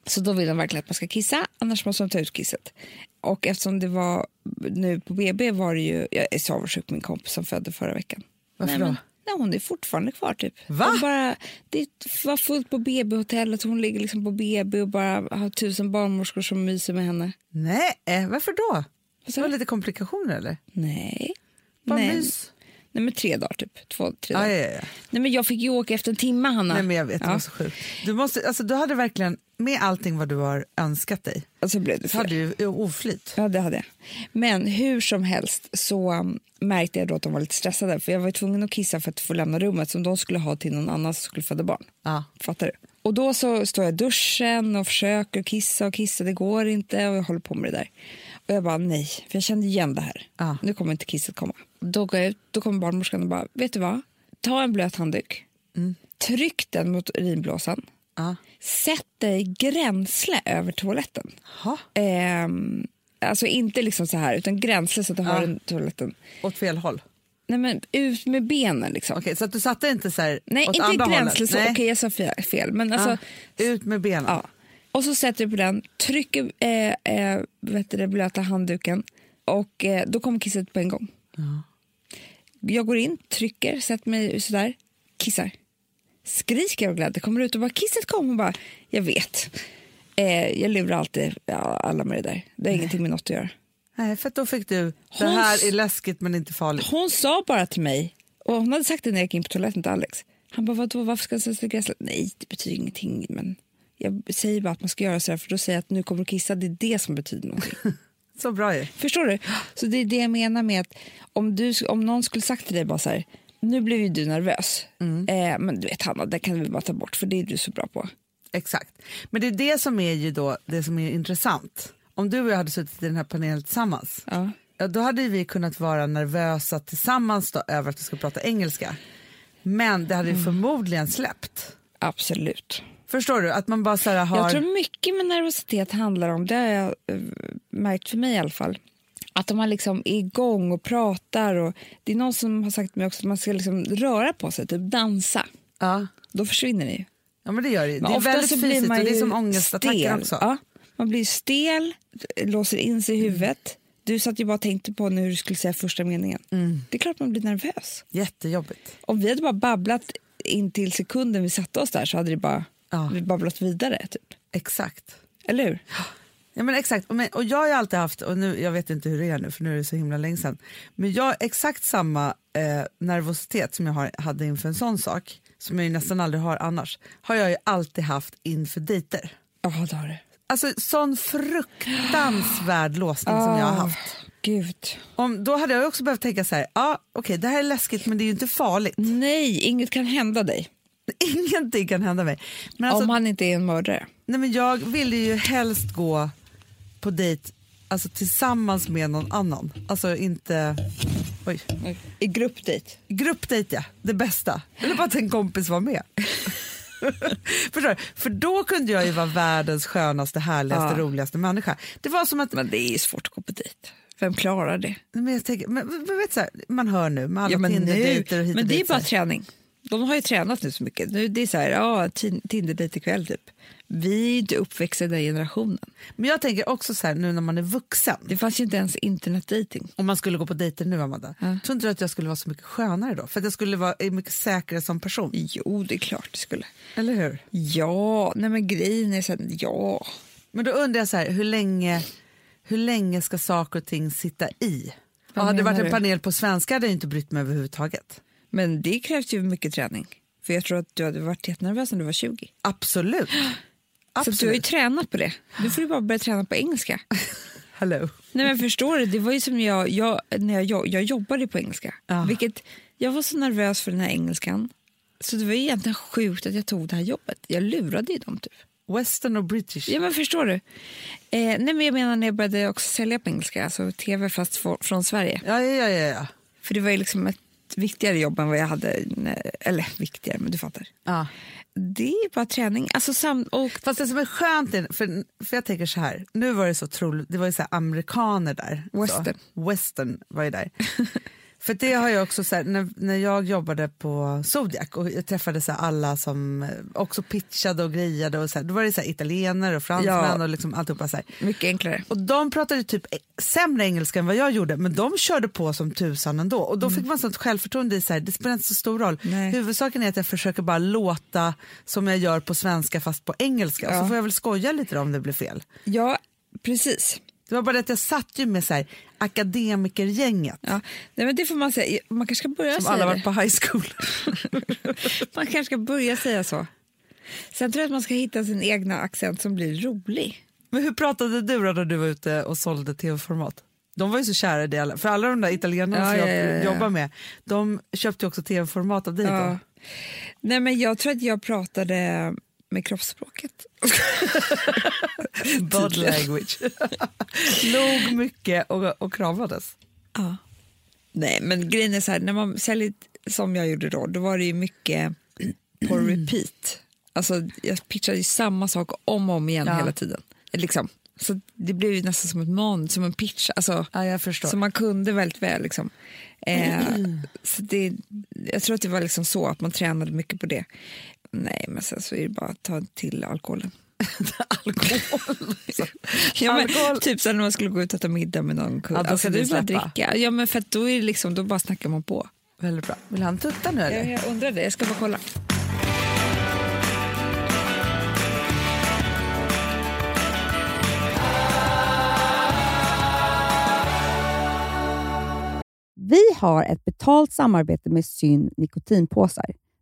Speaker 2: Så då vill de verkligen att man ska kissa, annars måste de ta ut kisset. Och eftersom det var nu på BB var det ju, jag är så avundsjuk på min kompis som födde förra veckan.
Speaker 1: Varför
Speaker 2: nej, men-
Speaker 1: då?
Speaker 2: Nej, hon är fortfarande kvar typ.
Speaker 1: Va?
Speaker 2: Hon bara, det var fullt på BB-hotellet, hon ligger liksom på BB och bara har tusen barnmorskor som myser med henne.
Speaker 1: Nej, eh, varför då? Det
Speaker 2: sa
Speaker 1: var
Speaker 2: du?
Speaker 1: lite komplikationer eller?
Speaker 2: Nej.
Speaker 1: Bara
Speaker 2: nej.
Speaker 1: mys?
Speaker 2: nej, men tre dagar typ. Två, tre
Speaker 1: Ja,
Speaker 2: dagar.
Speaker 1: ja, ja.
Speaker 2: Nej, men jag fick ju åka efter en timme, Hanna.
Speaker 1: Nej men jag vet, det
Speaker 2: Ja.
Speaker 1: var så sjukt. Du, måste, alltså, du hade verkligen, med allting vad du har önskat dig,
Speaker 2: Och så blev det
Speaker 1: så
Speaker 2: fel.
Speaker 1: hade du ju oflyt.
Speaker 2: Ja, det hade jag. Men hur som helst så um, märkte jag då att de var lite stressade. För Jag var ju tvungen att kissa för att få lämna rummet som de skulle ha till någon annan som skulle föda barn.
Speaker 1: Ja.
Speaker 2: Fattar du? Och då så står jag i duschen och försöker kissa och kissa, det går inte och jag håller på med det där. Och jag bara nej, för jag kände igen det här.
Speaker 1: Ja.
Speaker 2: Nu kommer inte kisset komma. Då går jag ut, då kommer barnmorskan och bara, vet du vad? Ta en blöt handduk, tryck den mot urinblåsan,
Speaker 1: Ja.
Speaker 2: sätt dig gränsle över toaletten.
Speaker 1: Ha,
Speaker 2: Ehm, alltså inte liksom så här, utan gränslöst att du har den toaletten.
Speaker 1: åt fel håll. Okej,
Speaker 2: Nej men ut med benen liksom.
Speaker 1: så att du satte inte så här
Speaker 2: Nej
Speaker 1: åt
Speaker 2: inte
Speaker 1: andra
Speaker 2: gränslöst,
Speaker 1: hållet?
Speaker 2: okej
Speaker 1: Nej.
Speaker 2: jag sa fe- fel. Men alltså,
Speaker 1: Ja. Ut med benen.
Speaker 2: ja. Och så sätter du på den, trycker eh, eh, vet du, det, blöta handduken och eh, då kommer kisset på en gång. Jag går in, trycker, sätter mig sådär, kissar. Skriker av glädje, kommer ut och bara kisset kom och bara jag vet. Eh, jag lurar alltid ja, alla med det där. Det har ingenting med något att göra.
Speaker 1: Nej, för att då fick du, det
Speaker 2: Hon
Speaker 1: här
Speaker 2: s-
Speaker 1: är läskigt men inte farligt.
Speaker 2: Hon sa bara till mig, och hon hade sagt det när jag gick in på toaletten till Alex. Han bara, vadå, varför ska jag sätta gräslet? Nej, det betyder ingenting, men jag säger bara att man ska göra så här för då säger jag att nu kommer du kissa, det är det som betyder någonting.
Speaker 1: Så bra ju.
Speaker 2: Förstår du? Så det är det jag menar med att om, du, om någon skulle sagt till dig bara så här, nu blev ju du nervös, eh, men du vet Hanna, det kan vi bara ta bort för det är du så bra på.
Speaker 1: Exakt. Men det är det som är ju då det som är intressant. Om du och jag hade suttit i den här panelen tillsammans,
Speaker 2: Ja.
Speaker 1: ja, då hade vi kunnat vara nervösa tillsammans då, över att vi ska prata engelska. Men det hade
Speaker 2: Mm.
Speaker 1: ju förmodligen släppt.
Speaker 2: Absolut.
Speaker 1: Förstår du? Att man bara så här har...
Speaker 2: Jag tror mycket med nervositet handlar om, det har jag eh, märkt för mig i alla fall, att om man liksom är igång och pratar och det är någon som har sagt till mig också att man ska liksom röra på sig, typ dansa.
Speaker 1: ja.
Speaker 2: Då försvinner det ju.
Speaker 1: ja, men det gör det ju. Det
Speaker 2: Men
Speaker 1: är
Speaker 2: ofta
Speaker 1: väldigt
Speaker 2: så blir
Speaker 1: fysiskt och
Speaker 2: man
Speaker 1: det är
Speaker 2: ju
Speaker 1: som ångestattacker
Speaker 2: stel.
Speaker 1: också. Mm.
Speaker 2: Ja, Man blir stel, låser in sig i huvudet. Du satt ju bara och tänkte på nu hur du skulle säga första meningen.
Speaker 1: Mm.
Speaker 2: Det är klart man blir nervös.
Speaker 1: Jättejobbigt.
Speaker 2: Om vi hade bara babblat in till sekunden vi satte oss där så hade det bara,
Speaker 1: Ja.
Speaker 2: vi babblat vidare. Typ.
Speaker 1: Exakt.
Speaker 2: Eller hur?
Speaker 1: Ja, men exakt. Och, men, och jag har ju alltid haft, och nu, jag vet inte hur det är nu för nu är det så himla länge sedan, men jag har exakt samma eh, nervositet som jag har, hade inför en sån sak, som jag ju nästan aldrig har annars, har jag ju alltid haft inför dejter.
Speaker 2: Ja, det har du.
Speaker 1: Alltså sån fruktansvärd låsning som jag har
Speaker 2: Ah.
Speaker 1: haft.
Speaker 2: Gud.
Speaker 1: Om, då hade jag också behövt tänka så här, ja okej det här är läskigt men det är ju inte farligt.
Speaker 2: Nej, inget kan hända dig
Speaker 1: Ingenting kan hända mig. Men alltså,
Speaker 2: om han inte är en mördare.
Speaker 1: nej, men jag ville ju helst gå på dejt alltså, tillsammans med någon annan. Alltså inte, oj,
Speaker 2: I gruppdejt.
Speaker 1: gruppdejt ja, det bästa. Eller bara att en kompis var med. Förstår du? För då kunde jag ju vara världens skönaste, härligaste,
Speaker 2: Ja.
Speaker 1: roligaste människa. Det var som att,
Speaker 2: Men det är ju svårt att gå på dejt. Vem klarar det?
Speaker 1: nej, men jag tänker, men, men, vet, så här, man hör nu med alla Tinder-dejter och hit och
Speaker 2: men det är
Speaker 1: dit, så
Speaker 2: bara
Speaker 1: här.
Speaker 2: träning. De har ju tränat nu så mycket. Nu, det är så här, ja, tin- Tinder-dejt ikväll typ. Vi är inte uppväxta i den generationen.
Speaker 1: Men jag tänker också så här nu när man är vuxen,
Speaker 2: Det fanns ju inte ens internetdating.
Speaker 1: om man skulle gå på dejter nu Amanda,
Speaker 2: Ja.
Speaker 1: tror inte du att jag skulle vara så mycket skönare då? För att jag skulle vara eh, mycket säkrare som person,
Speaker 2: Jo, det är klart det skulle.
Speaker 1: eller hur?
Speaker 2: Ja, nej men grejen är så här, ja.
Speaker 1: Men då undrar jag så här, hur länge, hur länge ska saker och ting sitta i?
Speaker 2: Vad
Speaker 1: Och hade det varit
Speaker 2: menar
Speaker 1: en
Speaker 2: du?
Speaker 1: panel på svenska hade jag inte brytt mig överhuvudtaget.
Speaker 2: Men det krävs ju mycket träning. För jag tror att du hade varit jättenervös när du var 20.
Speaker 1: Absolut.
Speaker 2: Så att du har ju
Speaker 1: Absolut.
Speaker 2: tränat på det. Du får du bara börja träna på engelska.
Speaker 1: Hello.
Speaker 2: Nej men förstår du, det var ju som jag, jag när jag, jo- jag jobbade på engelska.
Speaker 1: Ja.
Speaker 2: Vilket, jag var så nervös för den här engelskan. Så det var ju egentligen sjukt att jag tog det här jobbet. Jag lurade ju dem typ.
Speaker 1: Western och British.
Speaker 2: Ja men förstår du. Eh, nej men jag menar när jag började också sälja på engelska, alltså tv fast för, från Sverige.
Speaker 1: Ja, ja, ja, ja.
Speaker 2: För det var ju liksom ett viktigare jobb än vad jag hade, när, eller viktigare men du fattar.
Speaker 1: ja.
Speaker 2: Det är ju bara träning. Alltså, sam, och,
Speaker 1: Fast det som är skönt, är, för, för jag tänker så här, nu var det så otroligt, det var ju så här amerikaner där.
Speaker 2: Western.
Speaker 1: Så, western var ju där. för det har jag också så här, när, när jag jobbade på Zodiac och jag träffade så här alla som eh, också pitchade och grejade och så här, då var det så här italienare och fransmän
Speaker 2: Ja.
Speaker 1: och liksom alltihopa så här.
Speaker 2: mycket enklare.
Speaker 1: Och de pratade typ sämre engelska än vad jag gjorde men de körde på som tusan ändå och då fick man sånt självförtroende i så här, det spelar inte så stor roll.
Speaker 2: Mm. Nej.
Speaker 1: Huvudsaken är att jag försöker bara låta som jag gör på svenska fast på engelska och så
Speaker 2: Ja.
Speaker 1: får jag väl skoja lite då om det blir fel.
Speaker 2: Ja, precis.
Speaker 1: Det var bara det att jag satt ju med så här, akademikergänget
Speaker 2: Ja. Nej, men det får man säga. Man kanske ska börja
Speaker 1: som
Speaker 2: säga
Speaker 1: alla
Speaker 2: det.
Speaker 1: varit på high school.
Speaker 2: Man kanske ska börja säga så. Sen tror jag att man ska hitta sin egna accent som blir rolig.
Speaker 1: men hur pratade du då när du var ute och sålde tv-format? De var ju så kära i det, alla- för alla de där italienarna
Speaker 2: Ja,
Speaker 1: som
Speaker 2: ja,
Speaker 1: jag
Speaker 2: ja, ja.
Speaker 1: jobbar med, de köpte ju också tv-format av dig då.
Speaker 2: Ja. Nej, men jag tror att jag pratade med kroppsspråket.
Speaker 1: Body language. Log mycket och, och kramades.
Speaker 2: Ja. Nej, men grejen är så här, när man säljer som jag gjorde då, då var det ju mycket på repeat. Alltså, jag pitchade ju samma sak om och om igen
Speaker 1: Ja.
Speaker 2: hela tiden. Liksom. Så det blev ju nästan som ett manus, som en pitch. Alltså,
Speaker 1: Ja, jag förstår.
Speaker 2: Så man kunde väldigt väl. Liksom. Eh, så det, jag tror att det var liksom så, att man tränade mycket på det. Nej, men sen så är det bara att ta till alkoholen.
Speaker 1: Alkohol.
Speaker 2: Ja, men,
Speaker 1: Alkohol.
Speaker 2: typ så här när man skulle gå ut och äta middag med någon kund.
Speaker 1: Ja, då
Speaker 2: alltså,
Speaker 1: kan
Speaker 2: det
Speaker 1: du
Speaker 2: är bara att
Speaker 1: släppa.
Speaker 2: dricka. Ja, men för att då, är det liksom, då bara snackar man på.
Speaker 1: Väldigt bra. Vill han tutta nu eller?
Speaker 2: Jag, jag undrar det, jag ska bara kolla.
Speaker 3: Vi har ett betalt samarbete med Syn nikotinpåsar.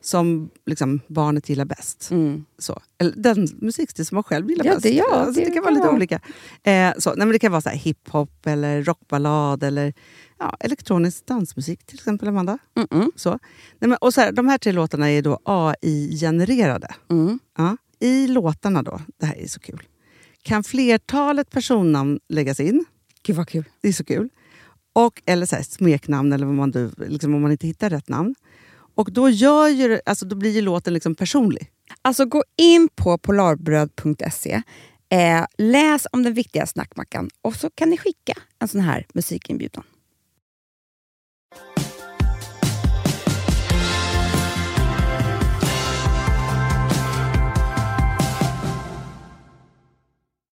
Speaker 4: som liksom, barnet gillar bäst.
Speaker 2: mm,
Speaker 4: Så. Eller den musikstil som man själv gillar
Speaker 2: Ja,
Speaker 4: bäst.
Speaker 2: det- ja,
Speaker 4: alltså, det,
Speaker 2: det
Speaker 4: kan vara
Speaker 2: kan
Speaker 4: lite
Speaker 2: vara.
Speaker 4: olika. Eh, så. Nej, men det kan vara så här hiphop, eller rockballad eller ja, elektronisk dansmusik till exempel, Amanda.
Speaker 2: Mm-mm.
Speaker 4: Så. Nej, men, och så här, de här tre låtarna är då AI-genererade.
Speaker 2: Mm.
Speaker 4: Ja. I låtarna då, det här är så kul, kan flertalet personnamn läggas in.
Speaker 2: Gud vad kul.
Speaker 4: Det är så kul. Och, eller så här, smeknamn, eller vad man, du- liksom, om man inte hittar rätt namn. Och då, gör ju, det- alltså, då blir ju låten liksom personlig.
Speaker 2: Alltså gå in på polarbröd.se, eh, läs om den viktiga snackmackan och så kan ni skicka en sån här musikinbjudan.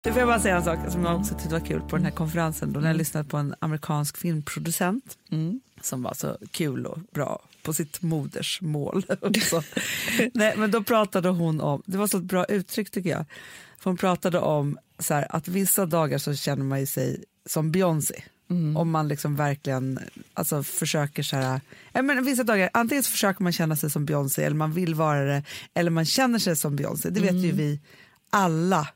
Speaker 1: Du får jag bara säga en sak som jag också tyckte var kul på den här konferensen då när jag lyssnade på en amerikansk filmproducent som var så kul och bra på sitt modersmål. Och så. Nej, men då pratade hon om, det var så ett bra uttryck tycker jag, för hon pratade om så här, att vissa dagar så känner man ju sig som Beyoncé. Om man liksom verkligen alltså, försöker så här, jag menar, vissa dagar, antingen så försöker man känna sig som Beyoncé eller man vill vara det eller man känner sig som Beyoncé, det vet ju vi alla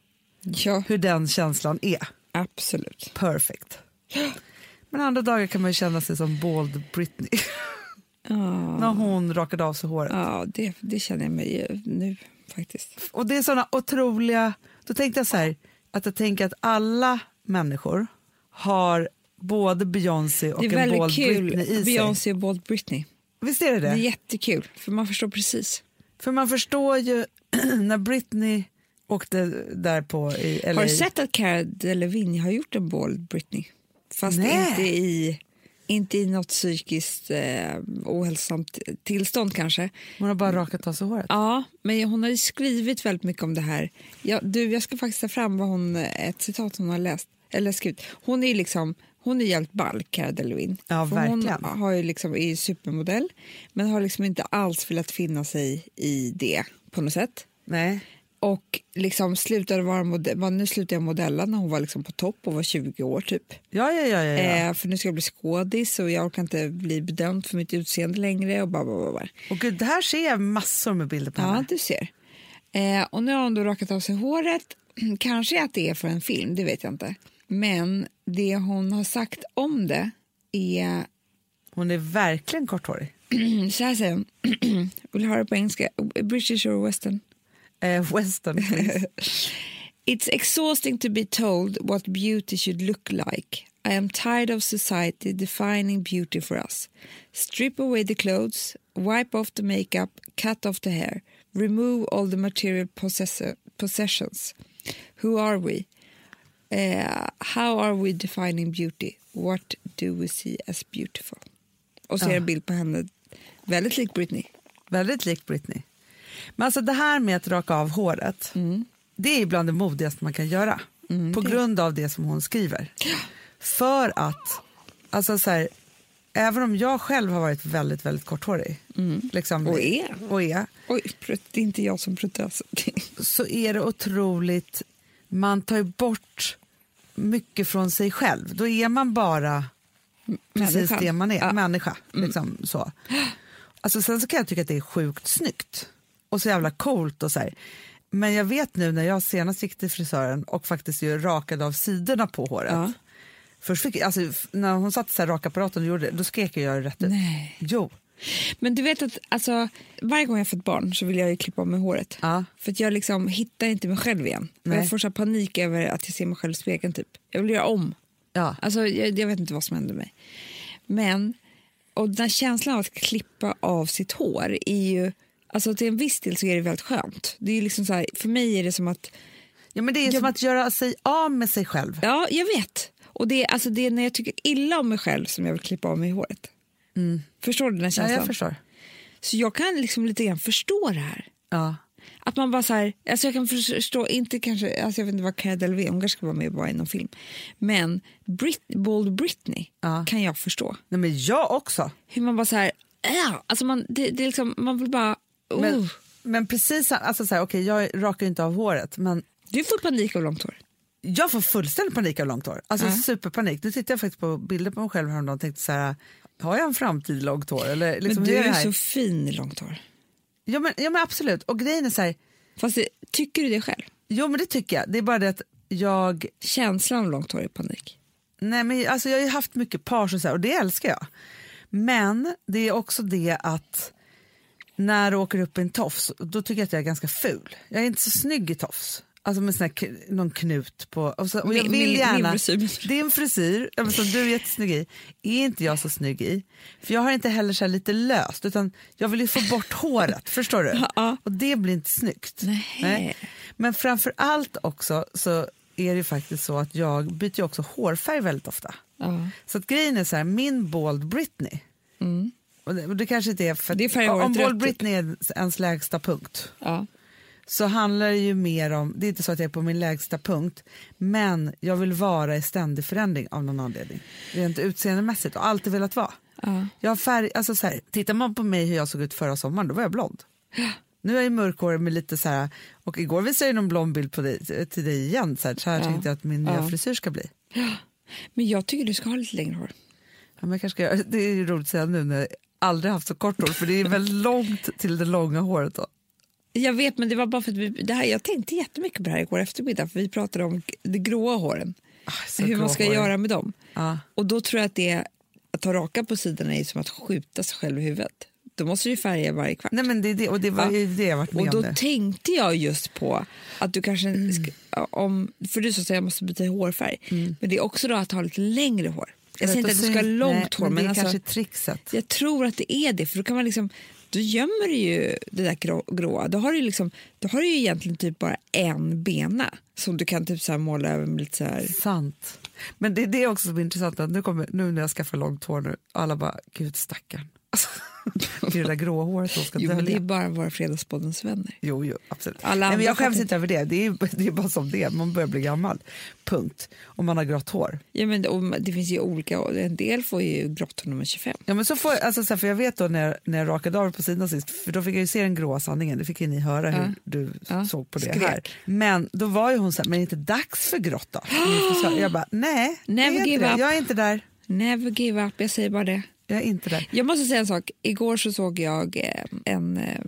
Speaker 5: Ja,
Speaker 1: hur den känslan är.
Speaker 5: absolut.
Speaker 1: Perfect. Men andra dagar kan man ju känna sig som Bald Britney när hon rakade av sig håret.
Speaker 5: Ja, det, det känner jag mig eh, nu faktiskt.
Speaker 1: Och det är såna otroliga... Då tänkte jag så här, att jag tänker att alla människor har både Beyoncé och
Speaker 5: Det är
Speaker 1: en
Speaker 5: väldigt
Speaker 1: Bald
Speaker 5: kul,
Speaker 1: Britney i sig.
Speaker 5: Beyoncé och Bold Britney.
Speaker 1: Visst är det
Speaker 5: Det är
Speaker 1: det?
Speaker 5: jättekul, för man förstår precis.
Speaker 1: För man förstår ju när Britney åkte där på i LA.
Speaker 5: Har du sett att Cara Delevingne har gjort en Bold Britney? Fast
Speaker 1: Nej.
Speaker 5: inte i
Speaker 2: Inte i något psykiskt eh, ohälsosamt tillstånd kanske.
Speaker 1: Hon har bara rakat av sig håret.
Speaker 2: Ja, men hon har ju skrivit väldigt mycket om det här. Jag, du, jag ska faktiskt ta fram vad hon, ett citat hon har läst, eller skrivit. Hon är ju liksom, hon är jävligt ball, Cara Delevingne.
Speaker 1: Ja,
Speaker 2: För
Speaker 1: verkligen.
Speaker 2: Hon har ju liksom, är ju supermodell, men har liksom inte alls velat finna sig i det på något sätt.
Speaker 1: Nej.
Speaker 2: Och liksom slutade vara modell, bara, nu slutade jag modella när hon var liksom på topp och var 20 år typ.
Speaker 1: Ja, ja, ja. ja, ja.
Speaker 2: Eh, för nu ska jag bli skådis och jag orkar inte bli bedömd för mitt utseende längre och bara, bara, bara, bara.
Speaker 1: Och gud, det här ser jag massor med bilder på
Speaker 2: Ja,
Speaker 1: henne.
Speaker 2: du ser. Eh, och nu har hon då rakat av sig håret. Kanske att det är för en film, det vet jag inte. Men det hon har sagt om det är...
Speaker 1: Hon är verkligen korthårig.
Speaker 2: så här säger hon. Vill du höra det på engelska? British or western?
Speaker 1: Eh, western.
Speaker 2: It's exhausting to be told what beauty should look like. I am tired of society defining beauty for us. Strip away the clothes, wipe off the makeup, cut off the hair, remove all the material possessor, possessions. Who are we? Eh, how are we defining beauty? What do we see as beautiful? Och så
Speaker 1: Ah.
Speaker 2: är det en bild på henne, väldigt lik Britney.
Speaker 1: Väldigt lik Britney. Men alltså det här med att raka av håret,
Speaker 2: Mm.
Speaker 1: det är bland det modigaste man kan göra. på grund av det som hon skriver. För att, alltså så här, även om jag själv har varit väldigt, väldigt korthårig. Liksom,
Speaker 2: Mm. Och är.
Speaker 1: Och är.
Speaker 2: Oj, prut- det är inte jag som pruttar. alltså.
Speaker 1: så är det otroligt, man tar ju bort mycket från sig själv. Då är man bara precis
Speaker 2: Människan.
Speaker 1: det man är,
Speaker 2: Ja. Mm.
Speaker 1: människa. Liksom, så. Alltså, sen så kan jag tycka att det är sjukt snyggt och så jävla coolt. Och så här. Men jag vet nu när jag senast gick till frisören och faktiskt ju rakade av sidorna på håret.
Speaker 2: Ja.
Speaker 1: Först fick, alltså, f- när hon satte så här rakapparaten och gjorde det, då skrek jag ju rätt ut.
Speaker 2: Nej.
Speaker 1: Jo.
Speaker 2: Men du vet att alltså, varje gång jag får ett barn så vill jag ju klippa av mig håret.
Speaker 1: Ja.
Speaker 2: För att jag liksom hittar inte mig själv igen. Och
Speaker 1: Nej.
Speaker 2: Jag får så här panik över att jag ser mig själv i spegeln typ. Jag vill göra om.
Speaker 1: Ja.
Speaker 2: Alltså, jag, jag vet inte vad som händer med mig. Men, och den här känslan av att klippa av sitt hår är ju, alltså till en viss del så är det väldigt skönt. Det är ju liksom så här, för mig är det som att
Speaker 1: ja, men det är som att göra sig av med sig själv.
Speaker 2: Ja, jag vet. Och det, är- alltså, det är när jag tycker illa om mig själv som jag vill klippa av mig håret. Förstår du
Speaker 1: Mm.
Speaker 2: den här
Speaker 1: Ja,
Speaker 2: känslan?
Speaker 1: jag förstår.
Speaker 2: Så jag kan liksom lite grann förstå det här.
Speaker 1: Ja.
Speaker 2: Att man bara så här, alltså jag kan förstå, inte kanske, alltså jag vet inte vad Cara Delevingne, hon kanske ska vara med bara i någon film. Men Brit, Bold Britney
Speaker 1: Ja.
Speaker 2: kan jag förstå.
Speaker 1: Nej, men jag också.
Speaker 2: Hur man bara så här, äh, alltså man, det, det är liksom, man vill bara, oh.
Speaker 1: Men, men precis, alltså så här, okej, jag rakar ju inte av håret, men
Speaker 2: du får panik av långt hår.
Speaker 1: jag får fullständig panik av långt hår. Alltså
Speaker 2: Ja.
Speaker 1: superpanik. Nu tittar jag faktiskt på bilder på mig själv häromdagen och tänkte så här, har jag en framtid i långt hår? Eller, liksom,
Speaker 2: men
Speaker 1: hur
Speaker 2: du är
Speaker 1: det
Speaker 2: ju
Speaker 1: här?
Speaker 2: så fin i långt hår.
Speaker 1: ja, men, ja men absolut, och grejen är så här,
Speaker 2: Fast det, tycker du det själv?
Speaker 1: jo men det tycker jag, det är bara det att jag,
Speaker 2: Känslan av långt hår är panik.
Speaker 1: nej men alltså jag har ju haft mycket page och så här, och det älskar jag. Men det är också det att när du åker upp i en tofs, då tycker jag att jag är ganska ful. Jag är inte så snygg i tofs. Alltså med sån här, kn- någon knut på. Och så, och jag vill
Speaker 2: Min- min- min
Speaker 1: gärna,
Speaker 2: frisyr.
Speaker 1: din frisyr, ja, men som du är jättesnygg i, är inte jag så snygg i. För jag har inte heller så här lite löst, utan jag vill ju få bort håret. förstår du?
Speaker 2: ja.
Speaker 1: Och det blir inte snyggt.
Speaker 2: Nej.
Speaker 1: Men framför allt också så är det ju faktiskt så att jag byter ju också hårfärg väldigt ofta.
Speaker 2: Ja.
Speaker 1: Så att grejen är så här, min Bald Britney,
Speaker 2: Mm.
Speaker 1: och det, och det kanske inte är för
Speaker 2: Det är färgen
Speaker 1: om
Speaker 2: året rätt,
Speaker 1: Bald
Speaker 2: typ.
Speaker 1: Britney är ens lägsta punkt
Speaker 2: Ja.
Speaker 1: så handlar det ju mer om, det är inte så att jag är på min lägsta punkt, men jag vill vara i ständig förändring av någon anledning. Rent utseendemässigt och alltid velat vara.
Speaker 2: Ja.
Speaker 1: Jag har färg, alltså så här, tittar man på mig hur jag såg ut förra sommaren, då var jag blond. Nu är jag ju mörkhårig med lite så här, och igår visade jag någon blond bild på dig, till dig igen, så här, så här tänkte jag att min nya frisyr ska bli.
Speaker 2: Men jag tycker du ska ha lite längre hår.
Speaker 1: Ja, men jag kanske ska, göra- det är ju roligt att säga nu när jag aldrig haft så kort hår, för det är väl långt till det långa håret då.
Speaker 2: Jag vet, men det var bara för att vi, det här, jag tänkte jättemycket på det här igår eftermiddag för vi pratade om g- de gråa håren,
Speaker 1: Ah, så
Speaker 2: hur man ska
Speaker 1: gråhårig.
Speaker 2: göra med dem.
Speaker 1: Ja.
Speaker 2: Och då tror jag att det att ta raka på sidorna är som att skjuta sig själv i huvudet. Då måste du ju färga varje kvart.
Speaker 1: Nej men det är det, och det var
Speaker 2: Ja.
Speaker 1: ju det jag Mm. varit med
Speaker 2: Och
Speaker 1: om
Speaker 2: då
Speaker 1: nu.
Speaker 2: tänkte jag just på att du kanske... Ska, ja, om, för du sa att jag måste byta hårfärg.
Speaker 1: Mm.
Speaker 2: Men det är också då att ha lite längre hår. Jag, säger inte
Speaker 1: vet,
Speaker 2: att
Speaker 1: och
Speaker 2: du ska ha
Speaker 1: syn-
Speaker 2: långt
Speaker 1: nej,
Speaker 2: hår, men,
Speaker 1: det är
Speaker 2: alltså,
Speaker 1: kanske trickset.
Speaker 2: Jag tror att det är det, för då kan man liksom då gömmer du ju det där grå, gråa. Då har du, liksom, då har du ju egentligen typ bara en bena som du kan typ så här måla över med lite så här.
Speaker 1: Sant. Men det är det också som är intressant, att nu, kommer, nu när jag skaffar långt hår nu, alla bara, gud stackarn. Alltså, det är det där gråa håret som ska
Speaker 2: Jo, men det är
Speaker 1: dölja.
Speaker 2: bara våra Fredagspoddens vänner.
Speaker 1: Jo, jo, absolut.
Speaker 2: Alla
Speaker 1: Nej,
Speaker 2: andra
Speaker 1: men jag skäms
Speaker 2: fattar
Speaker 1: inte över det, det är, det är bara som det är. man börjar bli gammal. Punkt. Om man har grått hår.
Speaker 2: Ja, men, och det finns ju olika, och en del får ju grått hår när de är 25.
Speaker 1: Ja, men så får, alltså, så här, för jag vet då när, jag- när jag rakade av på sidan sist, för då fick jag ju se den gråa sanningen, det fick ju ni höra hur
Speaker 2: Ja.
Speaker 1: du
Speaker 2: Ja.
Speaker 1: såg på det
Speaker 2: Skrek.
Speaker 1: här. Men då var ju hon så här, men är det inte dags för grått då? Min frisör. jag bara, nej, det
Speaker 2: Never
Speaker 1: är inte
Speaker 2: give
Speaker 1: det.
Speaker 2: up.
Speaker 1: jag är inte där.
Speaker 2: Never give up, jag säger bara det.
Speaker 1: Jag är inte där.
Speaker 2: Jag måste säga en sak. Igår så såg jag eh, en eh,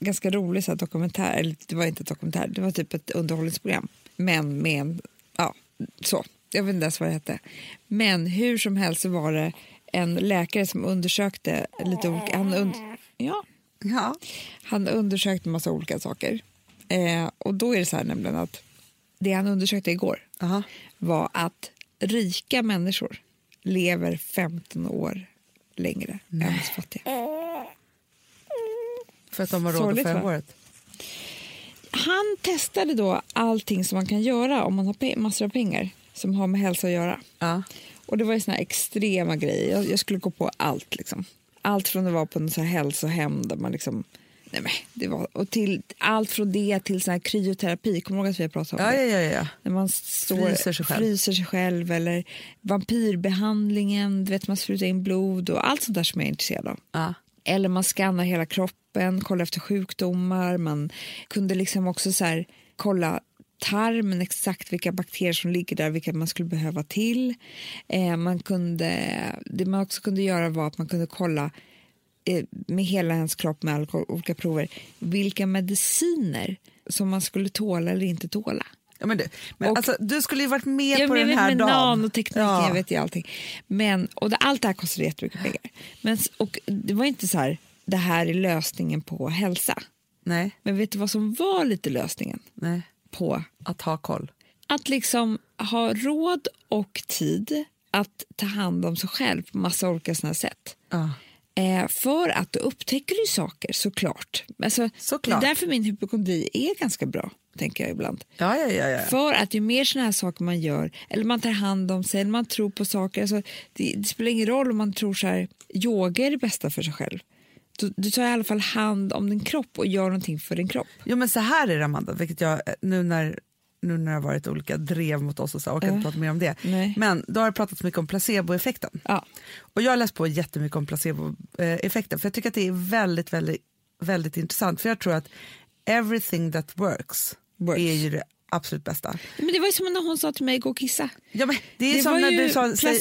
Speaker 2: ganska rolig så här, dokumentär. Eller, det var inte en dokumentär, det var typ ett underhållningsprogram. Men med en... Ja, så. Jag vet inte ens vad det hette. Men hur som helst så var det en läkare som undersökte lite olika... Han, und, ja,
Speaker 1: Ja.
Speaker 2: han undersökte en massa olika saker. Eh, och då är det så här nämligen att det han undersökte igår
Speaker 1: Aha.
Speaker 2: var att rika människor lever 15 år längre än oss fattiga.
Speaker 1: För att de har råd att
Speaker 2: Sorgligt,
Speaker 1: färga
Speaker 2: va?
Speaker 1: håret.
Speaker 2: Han testade då allting som man kan göra om man har pe- massor av pengar som har med hälsa att göra.
Speaker 1: Ja.
Speaker 2: Och det var ju såna här extrema grejer. Jag, jag skulle gå på allt liksom. Allt från att vara på en så här hälsohem där man liksom... Nej men, det var... Och till allt från det till sån här kryoterapi. Kommer du ihåg att vi har pratat om
Speaker 1: Ja,
Speaker 2: det?
Speaker 1: ja, ja, ja.
Speaker 2: När man står,
Speaker 1: Fryser sig själv.
Speaker 2: fryser sig själv eller vampyrbehandlingen, du vet man sprutar in blod och allt sånt där som jag är intresserad av.
Speaker 1: ja.
Speaker 2: Eller man skannar hela kroppen, kollar efter sjukdomar. Man kunde liksom också så här, kolla tarmen, exakt vilka bakterier som ligger där, vilka man skulle behöva till. Eh, man kunde, det man också kunde göra var att man kunde kolla eh, med hela ens kropp med alko- olika prover vilka mediciner som man skulle tåla eller inte tåla.
Speaker 1: ja men du, men
Speaker 2: Och-
Speaker 1: alltså, du skulle ju varit med
Speaker 2: Ja,
Speaker 1: på
Speaker 2: men jag
Speaker 1: den
Speaker 2: vet,
Speaker 1: här
Speaker 2: med
Speaker 1: dagen.
Speaker 2: nanotekniken,
Speaker 1: Ja.
Speaker 2: jag vet ju allting. Men, och det, allt det här kostar jättemycket pengar. Men, s- och det var inte så här, det här är lösningen på hälsa.
Speaker 1: Nej,
Speaker 2: Men vet du vad som var lite lösningen
Speaker 1: nej,
Speaker 2: på?
Speaker 1: att ha koll.
Speaker 2: Att liksom ha råd och tid att ta hand om sig själv på massa olika sådana sätt.
Speaker 1: Ja.
Speaker 2: Eh, för att då upptäcker du saker såklart. Alltså,
Speaker 1: Såklart.
Speaker 2: Det är därför min hypokondri är ganska bra, tänker jag ibland.
Speaker 1: Ja, ja, ja, ja.
Speaker 2: För att ju mer såna här saker man gör, eller man tar hand om sig, eller man tror på saker. Alltså, det, det spelar ingen roll om man tror så här, yoga är det bästa för sig själv. Du, du tar i alla fall hand om din kropp och gör någonting för din kropp.
Speaker 1: Jo men så här är det Amanda, vilket jag eh, nu när nu när det har varit olika drev mot oss och så, jag orkar inte prata mer om det.
Speaker 2: Nej.
Speaker 1: Men då har det pratats mycket om placeboeffekten.
Speaker 2: Ja.
Speaker 1: Och jag har läst på jättemycket om placeboeffekten för jag tycker att det är väldigt, väldigt, väldigt intressant. För jag tror att everything that works,
Speaker 2: Works.
Speaker 1: är ju det absolut bästa.
Speaker 2: Men det var ju som när hon sa till mig, gå och kissa.
Speaker 1: Ja, men det är
Speaker 2: Det
Speaker 1: som
Speaker 2: var
Speaker 1: när
Speaker 2: ju
Speaker 1: du sa, säg-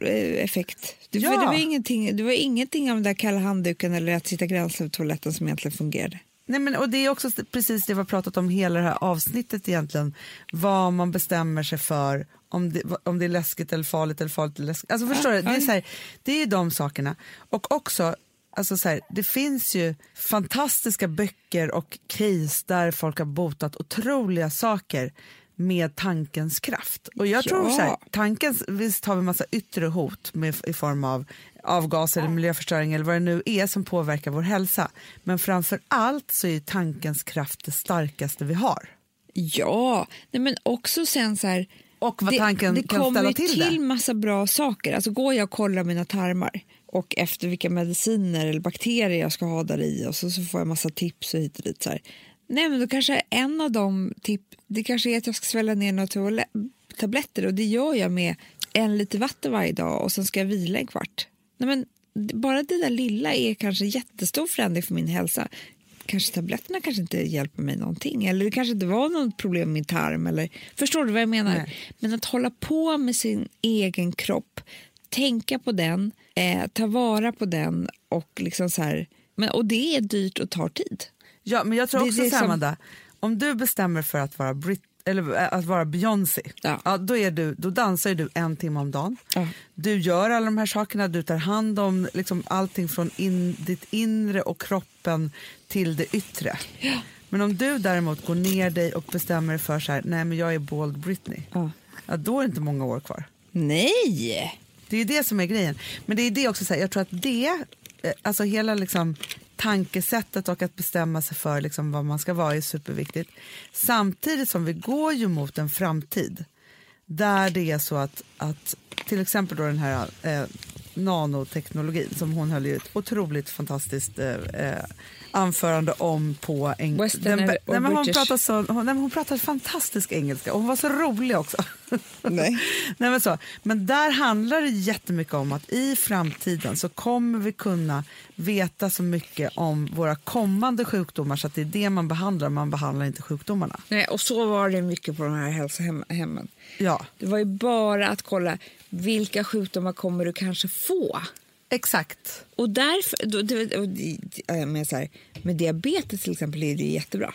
Speaker 2: placeboeffekt. Det,
Speaker 1: Ja.
Speaker 2: för det, var ingenting, det var ingenting av den där kalla handduken eller att sitta gränsle på toaletten som egentligen fungerade.
Speaker 1: Nej, men, och det är också precis det vi har pratat om hela det här avsnittet egentligen. Vad man bestämmer sig för, om det, om det är läskigt eller farligt eller farligt eller läskigt. Alltså förstår du? Det är, så här, det är ju de sakerna. Och också, alltså så här, det finns ju fantastiska böcker och case där folk har botat otroliga saker med tankens kraft. Och jag tror
Speaker 2: Ja.
Speaker 1: så här, tankens, visst har vi massa yttre hot med, i form av avgaser eller miljöförstöring eller vad det nu är som påverkar vår hälsa. Men framför allt så är ju tankens kraft det starkaste vi har.
Speaker 2: Ja, Nej, men också sen så här...
Speaker 1: Och vad tanken
Speaker 2: det
Speaker 1: kan
Speaker 2: kommer
Speaker 1: ställa
Speaker 2: ju
Speaker 1: till det.
Speaker 2: till massa bra saker. Alltså går jag och kollar mina tarmar och efter vilka mediciner eller bakterier jag ska ha där i och så, så får jag massa tips och hit och dit. Så här. Nej, men då kanske en av de tip, det kanske är att jag ska svälja ner några toale- tabletter och det gör jag med en liter vatten varje dag och sen ska jag vila en kvart. Nej, men d- bara det där lilla är kanske en jättestor förändring för min hälsa. Kanske tabletterna kanske inte hjälper mig någonting eller det kanske inte var något problem med min tarm. Eller, förstår du vad jag menar? Men att hålla på med sin egen kropp, tänka på den, eh, ta vara på den och liksom så här, men, och det är dyrt och tar tid.
Speaker 1: Ja, men jag tror
Speaker 2: Det-
Speaker 1: också
Speaker 2: det är
Speaker 1: så här,
Speaker 2: som-
Speaker 1: Amanda, om du bestämmer för att vara Brit eller äh, att vara Beyoncé,
Speaker 2: Ja.
Speaker 1: då, är du, då dansar ju du en timme om dagen.
Speaker 2: Ja.
Speaker 1: Du gör alla de här sakerna, du tar hand om liksom allting från in, ditt inre och kroppen till det yttre. Men om du däremot går ner dig och bestämmer dig för så här, nej men jag är bold Britney,
Speaker 2: Ja.
Speaker 1: Ja, då är det inte många år kvar.
Speaker 2: Nej!
Speaker 1: Det är ju det som är grejen. Men det är det också, så här, jag tror att det, eh, alltså hela liksom tankesättet och att bestämma sig för liksom vad man ska vara är superviktigt. Samtidigt som vi går ju mot en framtid där det är så att, att till exempel då den här eh, nanoteknologin som hon höll ju ett otroligt fantastiskt eh, eh, anförande om på engelska.
Speaker 2: Western
Speaker 1: Den,
Speaker 2: eller-
Speaker 1: nej,
Speaker 2: och
Speaker 1: men hon,
Speaker 2: British.
Speaker 1: pratar så, hon, nej, men hon pratar fantastisk engelska och hon var så rolig också.
Speaker 2: Nej.
Speaker 1: Nej, men, så. men där handlar det jättemycket om att i framtiden så kommer vi kunna veta så mycket om våra kommande sjukdomar så att det är det man behandlar, man behandlar inte sjukdomarna.
Speaker 2: Nej, och så var det mycket på de här hälsohemmen.
Speaker 1: Ja,
Speaker 2: Det var ju bara att kolla vilka sjukdomar kommer du kanske få.
Speaker 1: exakt.
Speaker 2: Och därför, då, det, och, det- eh, men så här, med diabetes till exempel är det ju jättebra.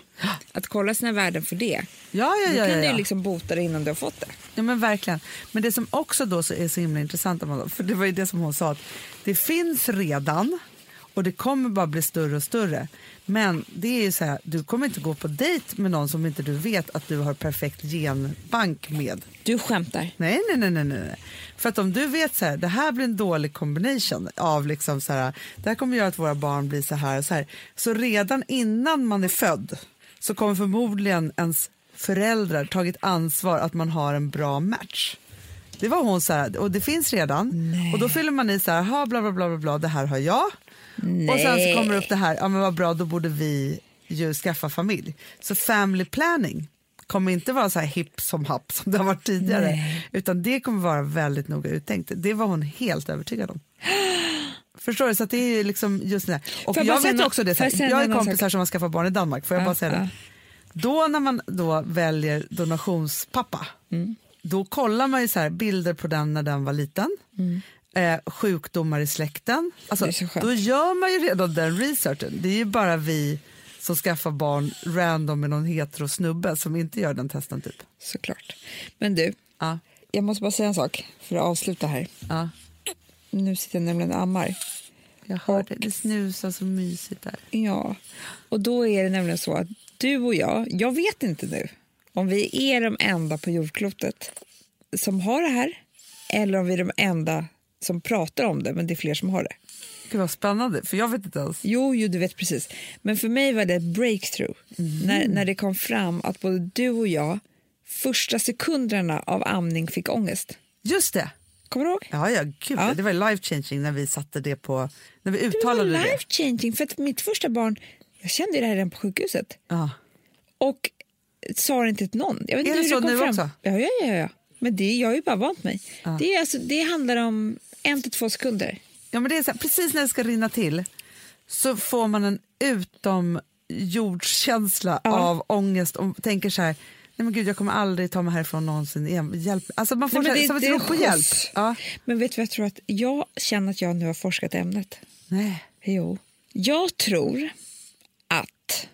Speaker 2: Att kolla sina värden för det.
Speaker 1: Ja, ja,
Speaker 2: Då
Speaker 1: ja,
Speaker 2: kan
Speaker 1: ja,
Speaker 2: du ju
Speaker 1: ja.
Speaker 2: liksom bota det innan du har fått det.
Speaker 1: ja men verkligen. Men det som också då så är så himla intressant, Amanda, för det var ju det som hon sa, att det finns redan och det kommer bara bli större och större. Men det är ju så här, du kommer inte gå på dejt med någon som inte du vet att du har perfekt genbank med.
Speaker 2: Du skämtar.
Speaker 1: Nej, nej, nej, nej, nej. nej. För att om du vet så här, det här blir en dålig combination av liksom så här, det här kommer göra att våra barn blir så här och så här. Så redan innan man är född så kommer förmodligen ens föräldrar tagit ansvar att man har en bra match. Det var hon så här, och det finns redan. Och då fyller man i så här, aha, bla bla bla bla bla, det här har jag. Och sen så kommer det upp det här, ja men vad bra, då borde vi ju skaffa familj. Så family planning kommer inte vara så här hipp som happ som det har varit tidigare. Utan det kommer vara väldigt noga uttänkt. Det var hon helt övertygad om. Förstår du? Så att det är ju liksom just det här. Och
Speaker 2: Får jag
Speaker 1: jag,
Speaker 2: bara säga
Speaker 1: vet
Speaker 2: nå-
Speaker 1: också det, så
Speaker 2: får jag säga
Speaker 1: här, jag
Speaker 2: en
Speaker 1: har
Speaker 2: annan
Speaker 1: kompisar som har skaffat barn i Danmark, får jag
Speaker 2: Ja,
Speaker 1: bara säga det? Då när man då väljer donationspappa, då kollar man ju så här, bilder på den när den var liten, eh, sjukdomar i släkten. Alltså,
Speaker 2: Det är så skönt.
Speaker 1: då gör man ju redan den researchen. Det är ju bara vi som skaffar barn random med någon hetero snubbe som inte gör den testen typ.
Speaker 2: Såklart. Men du,
Speaker 1: Ja,
Speaker 2: jag måste bara säga en sak för att avsluta här.
Speaker 1: ja.
Speaker 2: Nu sitter jag nämligen och ammar.
Speaker 1: Jag hörde, det snusar så mysigt där.
Speaker 2: Ja, och då är det nämligen så att du och jag, jag vet inte nu om vi är de enda på jordklotet som har det här eller om vi är de enda som pratar om det, men det är fler som har det.
Speaker 1: Gud vad spännande, för jag vet inte ens.
Speaker 2: Jo, jo du vet precis. Men för mig var det ett breakthrough
Speaker 1: Mhm.
Speaker 2: när, när det kom fram att både du och jag första sekunderna av amning fick ångest.
Speaker 1: Just det!
Speaker 2: Kommer du ihåg?
Speaker 1: Ja, ja, gud.
Speaker 2: Ja.
Speaker 1: Det var life changing när vi satte det på, när vi
Speaker 2: Det var
Speaker 1: uttalade det.
Speaker 2: life changing, för att mitt första barn, jag kände ju det här redan på sjukhuset.
Speaker 1: Ja.
Speaker 2: Och sa det inte till någon. Jag vet
Speaker 1: Är
Speaker 2: inte
Speaker 1: det
Speaker 2: hur
Speaker 1: så
Speaker 2: kom
Speaker 1: nu
Speaker 2: fram.
Speaker 1: också?
Speaker 2: Ja, ja, ja. ja. Men det, jag har ju bara vant mig. Det, är alltså, det handlar om en till två sekunder.
Speaker 1: Ja, men det är så här, precis när det ska rinna till så får man en utomjordskänsla av ångest och tänker så här, nej men gud jag kommer aldrig ta mig härifrån någonsin igen. Hjälp. Alltså man får
Speaker 2: Nej, men
Speaker 1: så här, som ett
Speaker 2: är
Speaker 1: rop på
Speaker 2: skjuts.
Speaker 1: hjälp. Ja.
Speaker 2: Men vet du vad jag tror? att Jag känner att jag nu har forskat ämnet.
Speaker 1: Nej.
Speaker 2: Jo. Jag tror att,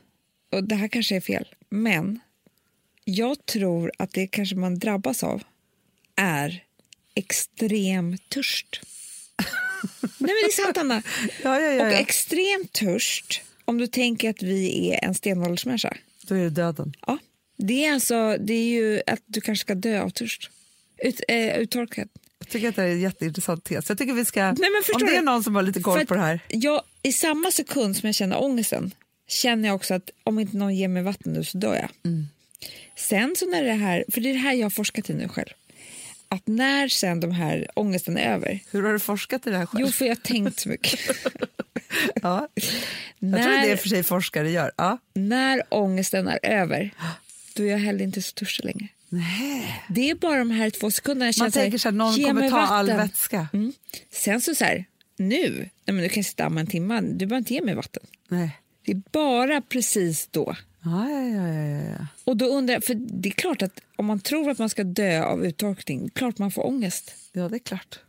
Speaker 2: och det här kanske är fel, men jag tror att det kanske man drabbas av är extrem törst. Nej men det är sant Anna.
Speaker 1: Ja, ja, ja,
Speaker 2: Och
Speaker 1: ja.
Speaker 2: extrem törst, om du tänker att vi är en stenåldersmänniska.
Speaker 1: Då är det döden.
Speaker 2: Ja. Det är alltså, det är ju att du kanske ska dö av törst. Ut, eh, uttorkad.
Speaker 1: Jag tycker att det här är en jätteintressant tes. Jag tycker vi ska,
Speaker 2: men förstår
Speaker 1: om det
Speaker 2: du?
Speaker 1: är någon som har lite
Speaker 2: För
Speaker 1: koll
Speaker 2: att
Speaker 1: på det här.
Speaker 2: Jag, I samma sekund som jag känner ångesten känner jag också att om inte någon ger mig vatten nu så dör jag.
Speaker 1: Mm.
Speaker 2: Sen så när det här, för det är det här jag har forskat i nu själv, att när sen de här ångesten är över,
Speaker 1: Hur har du forskat i det här själv?
Speaker 2: jo för jag har tänkt så mycket.
Speaker 1: Ja. Jag tror
Speaker 2: när,
Speaker 1: det är för sig forskare gör. Ja.
Speaker 2: när ångesten är över, då är jag heller inte så törstig längre.
Speaker 1: Nej.
Speaker 2: Det är bara de här två sekunderna jag
Speaker 1: Man
Speaker 2: känner
Speaker 1: tänker så här, någon
Speaker 2: "Ge
Speaker 1: kommer
Speaker 2: mig
Speaker 1: ta all
Speaker 2: vatten."
Speaker 1: vätska.
Speaker 2: Mm. Sen så så här, nu, nej men du kan jag sitta och amma en timme, du behöver inte ge mig vatten.
Speaker 1: Nej.
Speaker 2: Det är bara precis då.
Speaker 1: Ja, ja, ja, ja, ja, ja.
Speaker 2: Och då undrar jag, för det är klart att om man tror att man ska dö av uttorkning, det är klart man får ångest.
Speaker 1: Ja, det är klart.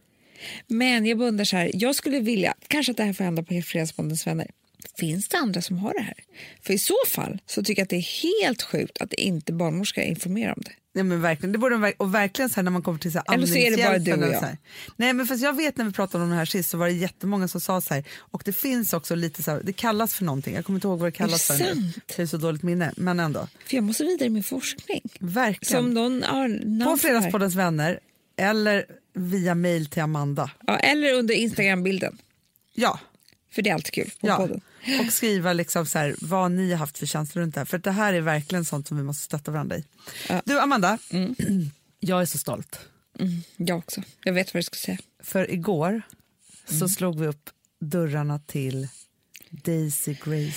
Speaker 2: Men jag bara undrar så här, jag skulle vilja, kanske att det här får hända på Fredagsbondens vänner. Finns det andra som har det här? För i så fall så tycker jag att det är helt sjukt att inte barnmorska informerar om det.
Speaker 1: Nej, men verkligen. Det borde de verk- och verkligen så här, när man kommer till så här,
Speaker 2: Eller så är det bara
Speaker 1: amningshjälpen
Speaker 2: du och
Speaker 1: eller
Speaker 2: jag.
Speaker 1: Så här. Nej, men fast jag vet när vi pratade om det här sist så var det jättemånga som sa så här och det finns också lite så här, det kallas för någonting. Jag kommer inte ihåg vad det kallas
Speaker 2: Är det
Speaker 1: för nu.
Speaker 2: sant?
Speaker 1: Det är så dåligt minne, men ändå.
Speaker 2: För jag måste vidare i min forskning.
Speaker 1: Verkligen.
Speaker 2: Som någon har namn
Speaker 1: På
Speaker 2: för det här.
Speaker 1: Fredagspoddens vänner eller via mail till Amanda.
Speaker 2: ja, Eller under Instagram-bilden.
Speaker 1: Ja.
Speaker 2: För det är alltid kul på
Speaker 1: Ja,
Speaker 2: podden.
Speaker 1: och skriva liksom så här, vad ni har haft för känslor runt det här. För att det här är verkligen sånt som vi måste stötta varandra i. Du Amanda, Jag är så stolt.
Speaker 2: Mm, jag också. Jag vet vad du ska säga.
Speaker 1: För igår så slog vi upp dörrarna till Daisy Grace.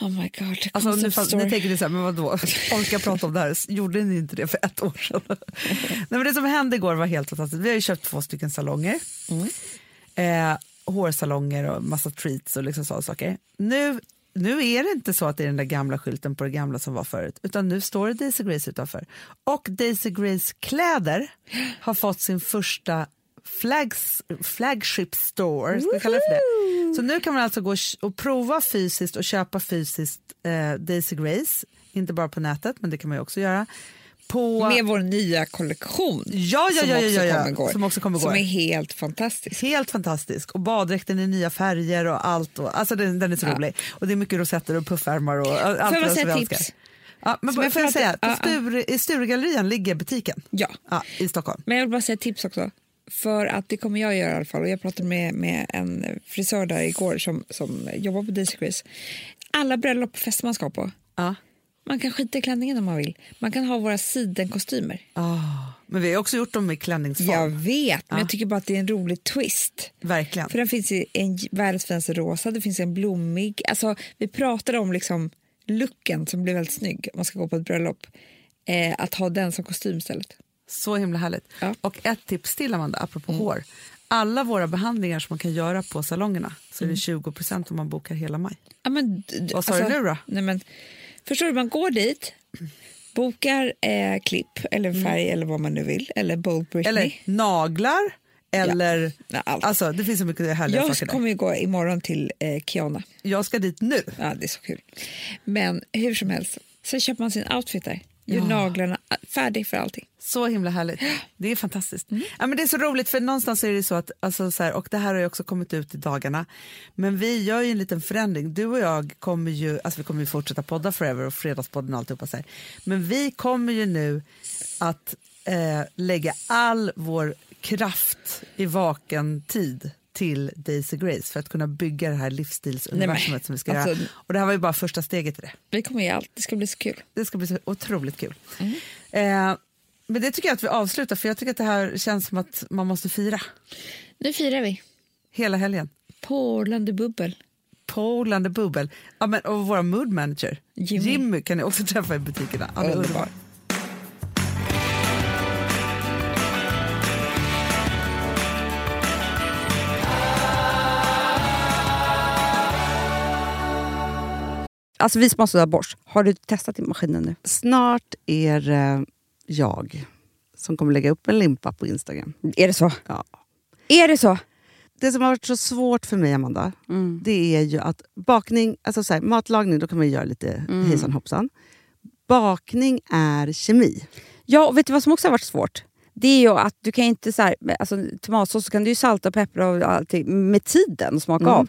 Speaker 2: Oh my god, the
Speaker 1: Alltså, nu,
Speaker 2: concept
Speaker 1: fast,
Speaker 2: store.
Speaker 1: nu tänker ni så här, men vadå? Orkar prata om det här? Gjorde ni inte det för ett år sedan? Nej, men det som hände igår var helt fantastiskt. Vi har ju köpt två stycken salonger. Eh, hårsalonger och massa treats och liksom sådana saker. Nu, nu är det inte så att det är den där gamla skylten på det gamla som var förut, utan nu står det Daisy Grace utanför. Och Daisy Grace kläder har fått sin första flags, flagship store, ska vi kalla det för det. Så nu kan man alltså gå och prova fysiskt och köpa fysiskt eh, Daisy Grace, inte bara på nätet, men det kan man ju också göra. På...
Speaker 2: Med vår nya kollektion
Speaker 1: Ja, ja,
Speaker 2: som,
Speaker 1: ja, ja,
Speaker 2: också
Speaker 1: ja, ja.
Speaker 2: Kommer igår,
Speaker 1: Som också kom igår.
Speaker 2: är helt fantastisk.
Speaker 1: Helt fantastisk. Och baddräkten i nya färger och allt. Och, alltså den, den är så
Speaker 2: Ja.
Speaker 1: rolig. Och det är mycket rosetter och puffärmar och allt
Speaker 2: Får jag
Speaker 1: vad
Speaker 2: bara
Speaker 1: som
Speaker 2: säga
Speaker 1: vi
Speaker 2: ett
Speaker 1: älskar.
Speaker 2: tips?
Speaker 1: Ja, men
Speaker 2: Som
Speaker 1: får
Speaker 2: jag
Speaker 1: jag
Speaker 2: pratar-
Speaker 1: säga, på
Speaker 2: Ja, ja.
Speaker 1: Sture, i Sturegallerian ligger butiken
Speaker 2: Ja.
Speaker 1: ja, i Stockholm.
Speaker 2: Men jag vill bara säga ett tips också. För att det kommer jag göra i alla fall. Och jag pratade med, med en frisör där igår som, som jobbar på Daisy Grace. Alla bröllop och fester man ska på.
Speaker 1: Ja.
Speaker 2: Man kan skita i klänningen om man vill. Man kan ha våra sidenkostymer.
Speaker 1: Ah, Men vi har också gjort dem i klänningsform.
Speaker 2: Jag vet, men jag tycker bara att det är en rolig twist.
Speaker 1: Verkligen.
Speaker 2: För den finns i en j- världens finaste rosa, det finns en blommig. Alltså, vi pratade om liksom looken som blir väldigt snygg om man ska gå på ett bröllop. Eh, att ha den som kostym istället.
Speaker 1: Så himla härligt.
Speaker 2: Ja. Mm.
Speaker 1: Och ett tips till, Amanda, apropå hår. Alla våra behandlingar som man kan göra på salongerna så
Speaker 2: Mm.
Speaker 1: är det 20 om man bokar hela maj.
Speaker 2: Ja, men, d- d-
Speaker 1: Vad sa du nu då?
Speaker 2: Nej, men, förstår du, man går dit, bokar eh, klipp eller färg eller vad man nu vill. Eller Bold Britney.
Speaker 1: Mm. Eller naglar, eller...
Speaker 2: Ja, allt.
Speaker 1: Alltså, det finns så mycket härliga
Speaker 2: jag
Speaker 1: saker där.
Speaker 2: kommer ju gå imorgon till eh, Kiana.
Speaker 1: Jag ska dit nu.
Speaker 2: Ja, det är så kul. Men hur som helst, sen köper man sin outfit där. Gör naglarna, färdig för allting.
Speaker 1: Så himla härligt. Det är fantastiskt.
Speaker 2: Mm.
Speaker 1: Ja, men det är så roligt för någonstans är det så att, alltså, så här, och det här har ju också kommit ut i dagarna, men vi gör ju en liten förändring. Du och jag kommer ju, alltså vi kommer ju fortsätta podda forever och fredagspodden och alltihopa så här. Men vi kommer ju nu att eh, lägga all vår kraft i vaken tid till Daisy Grace för att kunna bygga det här livsstilsuniversumet
Speaker 2: Nej, men,
Speaker 1: som vi ska
Speaker 2: alltså-
Speaker 1: göra. Och det här var ju bara första steget i det.
Speaker 2: Vi kommer ge allt, det ska bli så kul.
Speaker 1: Det ska bli så otroligt kul. Eh, men det tycker jag att vi avslutar, för jag tycker att det här känns som att man måste fira
Speaker 2: Nu firar vi
Speaker 1: hela helgen.
Speaker 2: på Orlando Bubbel.
Speaker 1: Polande bubbel. Ja, men, och vår mood manager, Jimmy.
Speaker 2: Jimmy.
Speaker 1: kan ni också träffa i butikerna. Ja, det är
Speaker 2: Underbar.
Speaker 1: underbart.
Speaker 3: Alltså vi som har sådär borst, har du testat i maskinen nu?
Speaker 4: Snart är eh, jag som kommer lägga upp en limpa på Instagram.
Speaker 3: Är det så?
Speaker 4: Ja.
Speaker 3: Är det så?
Speaker 4: Det som har varit så svårt för mig, Amanda,
Speaker 3: Mm.
Speaker 4: det är ju att bakning, alltså så här, matlagning, då kan man ju göra lite
Speaker 3: Mm.
Speaker 4: hejsan hoppsan. Bakning är kemi.
Speaker 3: Ja, och vet du vad som också har varit svårt? Det är ju att du kan inte så här, alltså, tomatsås så kan du ju salta och peppra och allting med tiden och smaka av.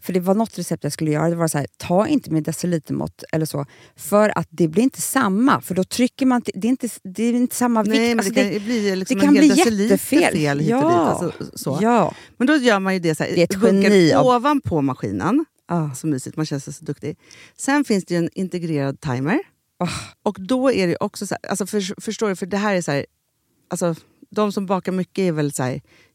Speaker 3: För det var något recept jag skulle göra. Det var så här, ta inte med decilitermått eller så. För att det blir inte samma. För då trycker man... till- Det är inte, det är inte samma vikt.
Speaker 4: Nej, men
Speaker 3: Alltså,
Speaker 4: det kan ju bli liksom
Speaker 3: det kan
Speaker 4: en hel
Speaker 3: bli
Speaker 4: deciliter
Speaker 3: jättefel.
Speaker 4: fel hit och
Speaker 3: Ja.
Speaker 4: dit. Alltså, så.
Speaker 3: Ja.
Speaker 4: Men då gör man ju det så här,
Speaker 3: Det är ett
Speaker 4: bunkar
Speaker 3: geni av-
Speaker 4: ovanpå maskinen.
Speaker 3: Ah.
Speaker 4: Så mysigt, man känns så duktig. Sen finns det ju en integrerad timer.
Speaker 3: Ah.
Speaker 4: Och då är det ju också så här, alltså för, förstår du, för det här är så här, alltså de som bakar mycket är väl så här,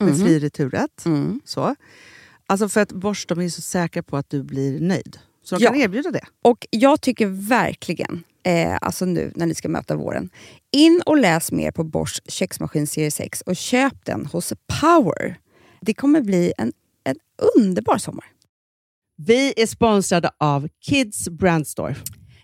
Speaker 4: med fri returrätt.
Speaker 3: Mm.
Speaker 4: Så. Alltså för att Bosch de är ju så säkra på att du blir nöjd. Så de
Speaker 3: Ja.
Speaker 4: kan erbjuda det.
Speaker 3: Och jag tycker verkligen, eh, alltså nu när ni ska möta våren, in och läs mer på Bosch köksmaskin serie 6 och köp den hos Power. Det kommer bli en, en underbar sommar.
Speaker 4: Vi är sponsrade av Kids Brand Store.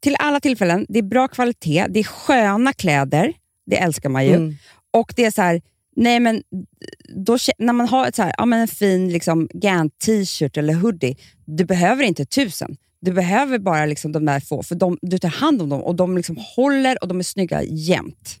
Speaker 3: Till alla tillfällen, det är bra kvalitet, det är sköna kläder, det älskar man ju.
Speaker 4: Mm.
Speaker 3: Och det är så här, nej men då, kä- när man har ett så här, ja, men en fin liksom, Gant t-shirt eller hoodie, du behöver inte tusen. Du behöver bara liksom de där få, för de, du tar hand om dem och de liksom håller och de är snygga jämt.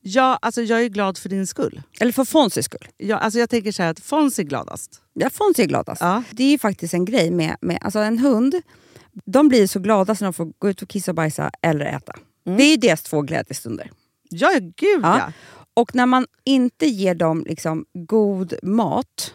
Speaker 4: Ja, alltså jag är glad för din skull.
Speaker 3: Eller för Fonzys skull.
Speaker 4: Jag, alltså jag tänker så här att Fons är gladast.
Speaker 3: Ja, Fonzie är gladast.
Speaker 4: Ja.
Speaker 3: alltså. Det är ju faktiskt en grej med, med alltså en hund. De blir så glada när de får gå ut och kissa och bajsa eller äta.
Speaker 4: Mm.
Speaker 3: Det är ju deras två glädjestunder.
Speaker 4: Ja, gud
Speaker 3: Ja.
Speaker 4: ja.
Speaker 3: Och när man inte ger dem liksom god mat,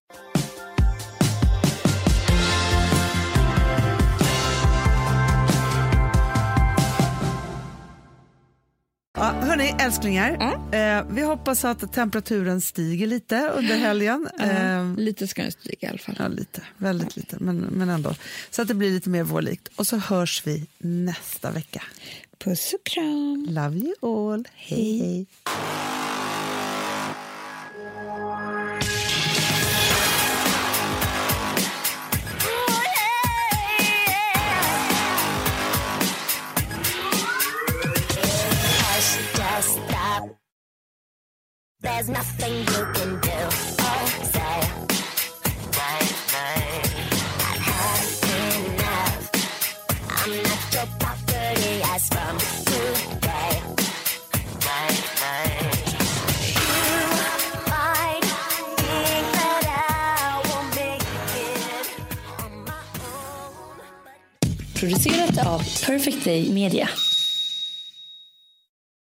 Speaker 1: Ja, hörni, älsklingar. Eh, vi hoppas att temperaturen stiger lite under helgen. Eh,
Speaker 2: Lite ska den stiga i alla fall.
Speaker 1: ja, lite. Väldigt lite, men, men ändå. Så att det blir lite mer vårlikt. Och så hörs vi nästa vecka.
Speaker 2: Puss och kram.
Speaker 1: Love you all. Hej, hej.
Speaker 6: hush, just stop. There's nothing you can do Oh, or say. I've had enough. I'm not your property as from today. You might think that I will make it on my own.
Speaker 7: Producerat av Perfect Day Media.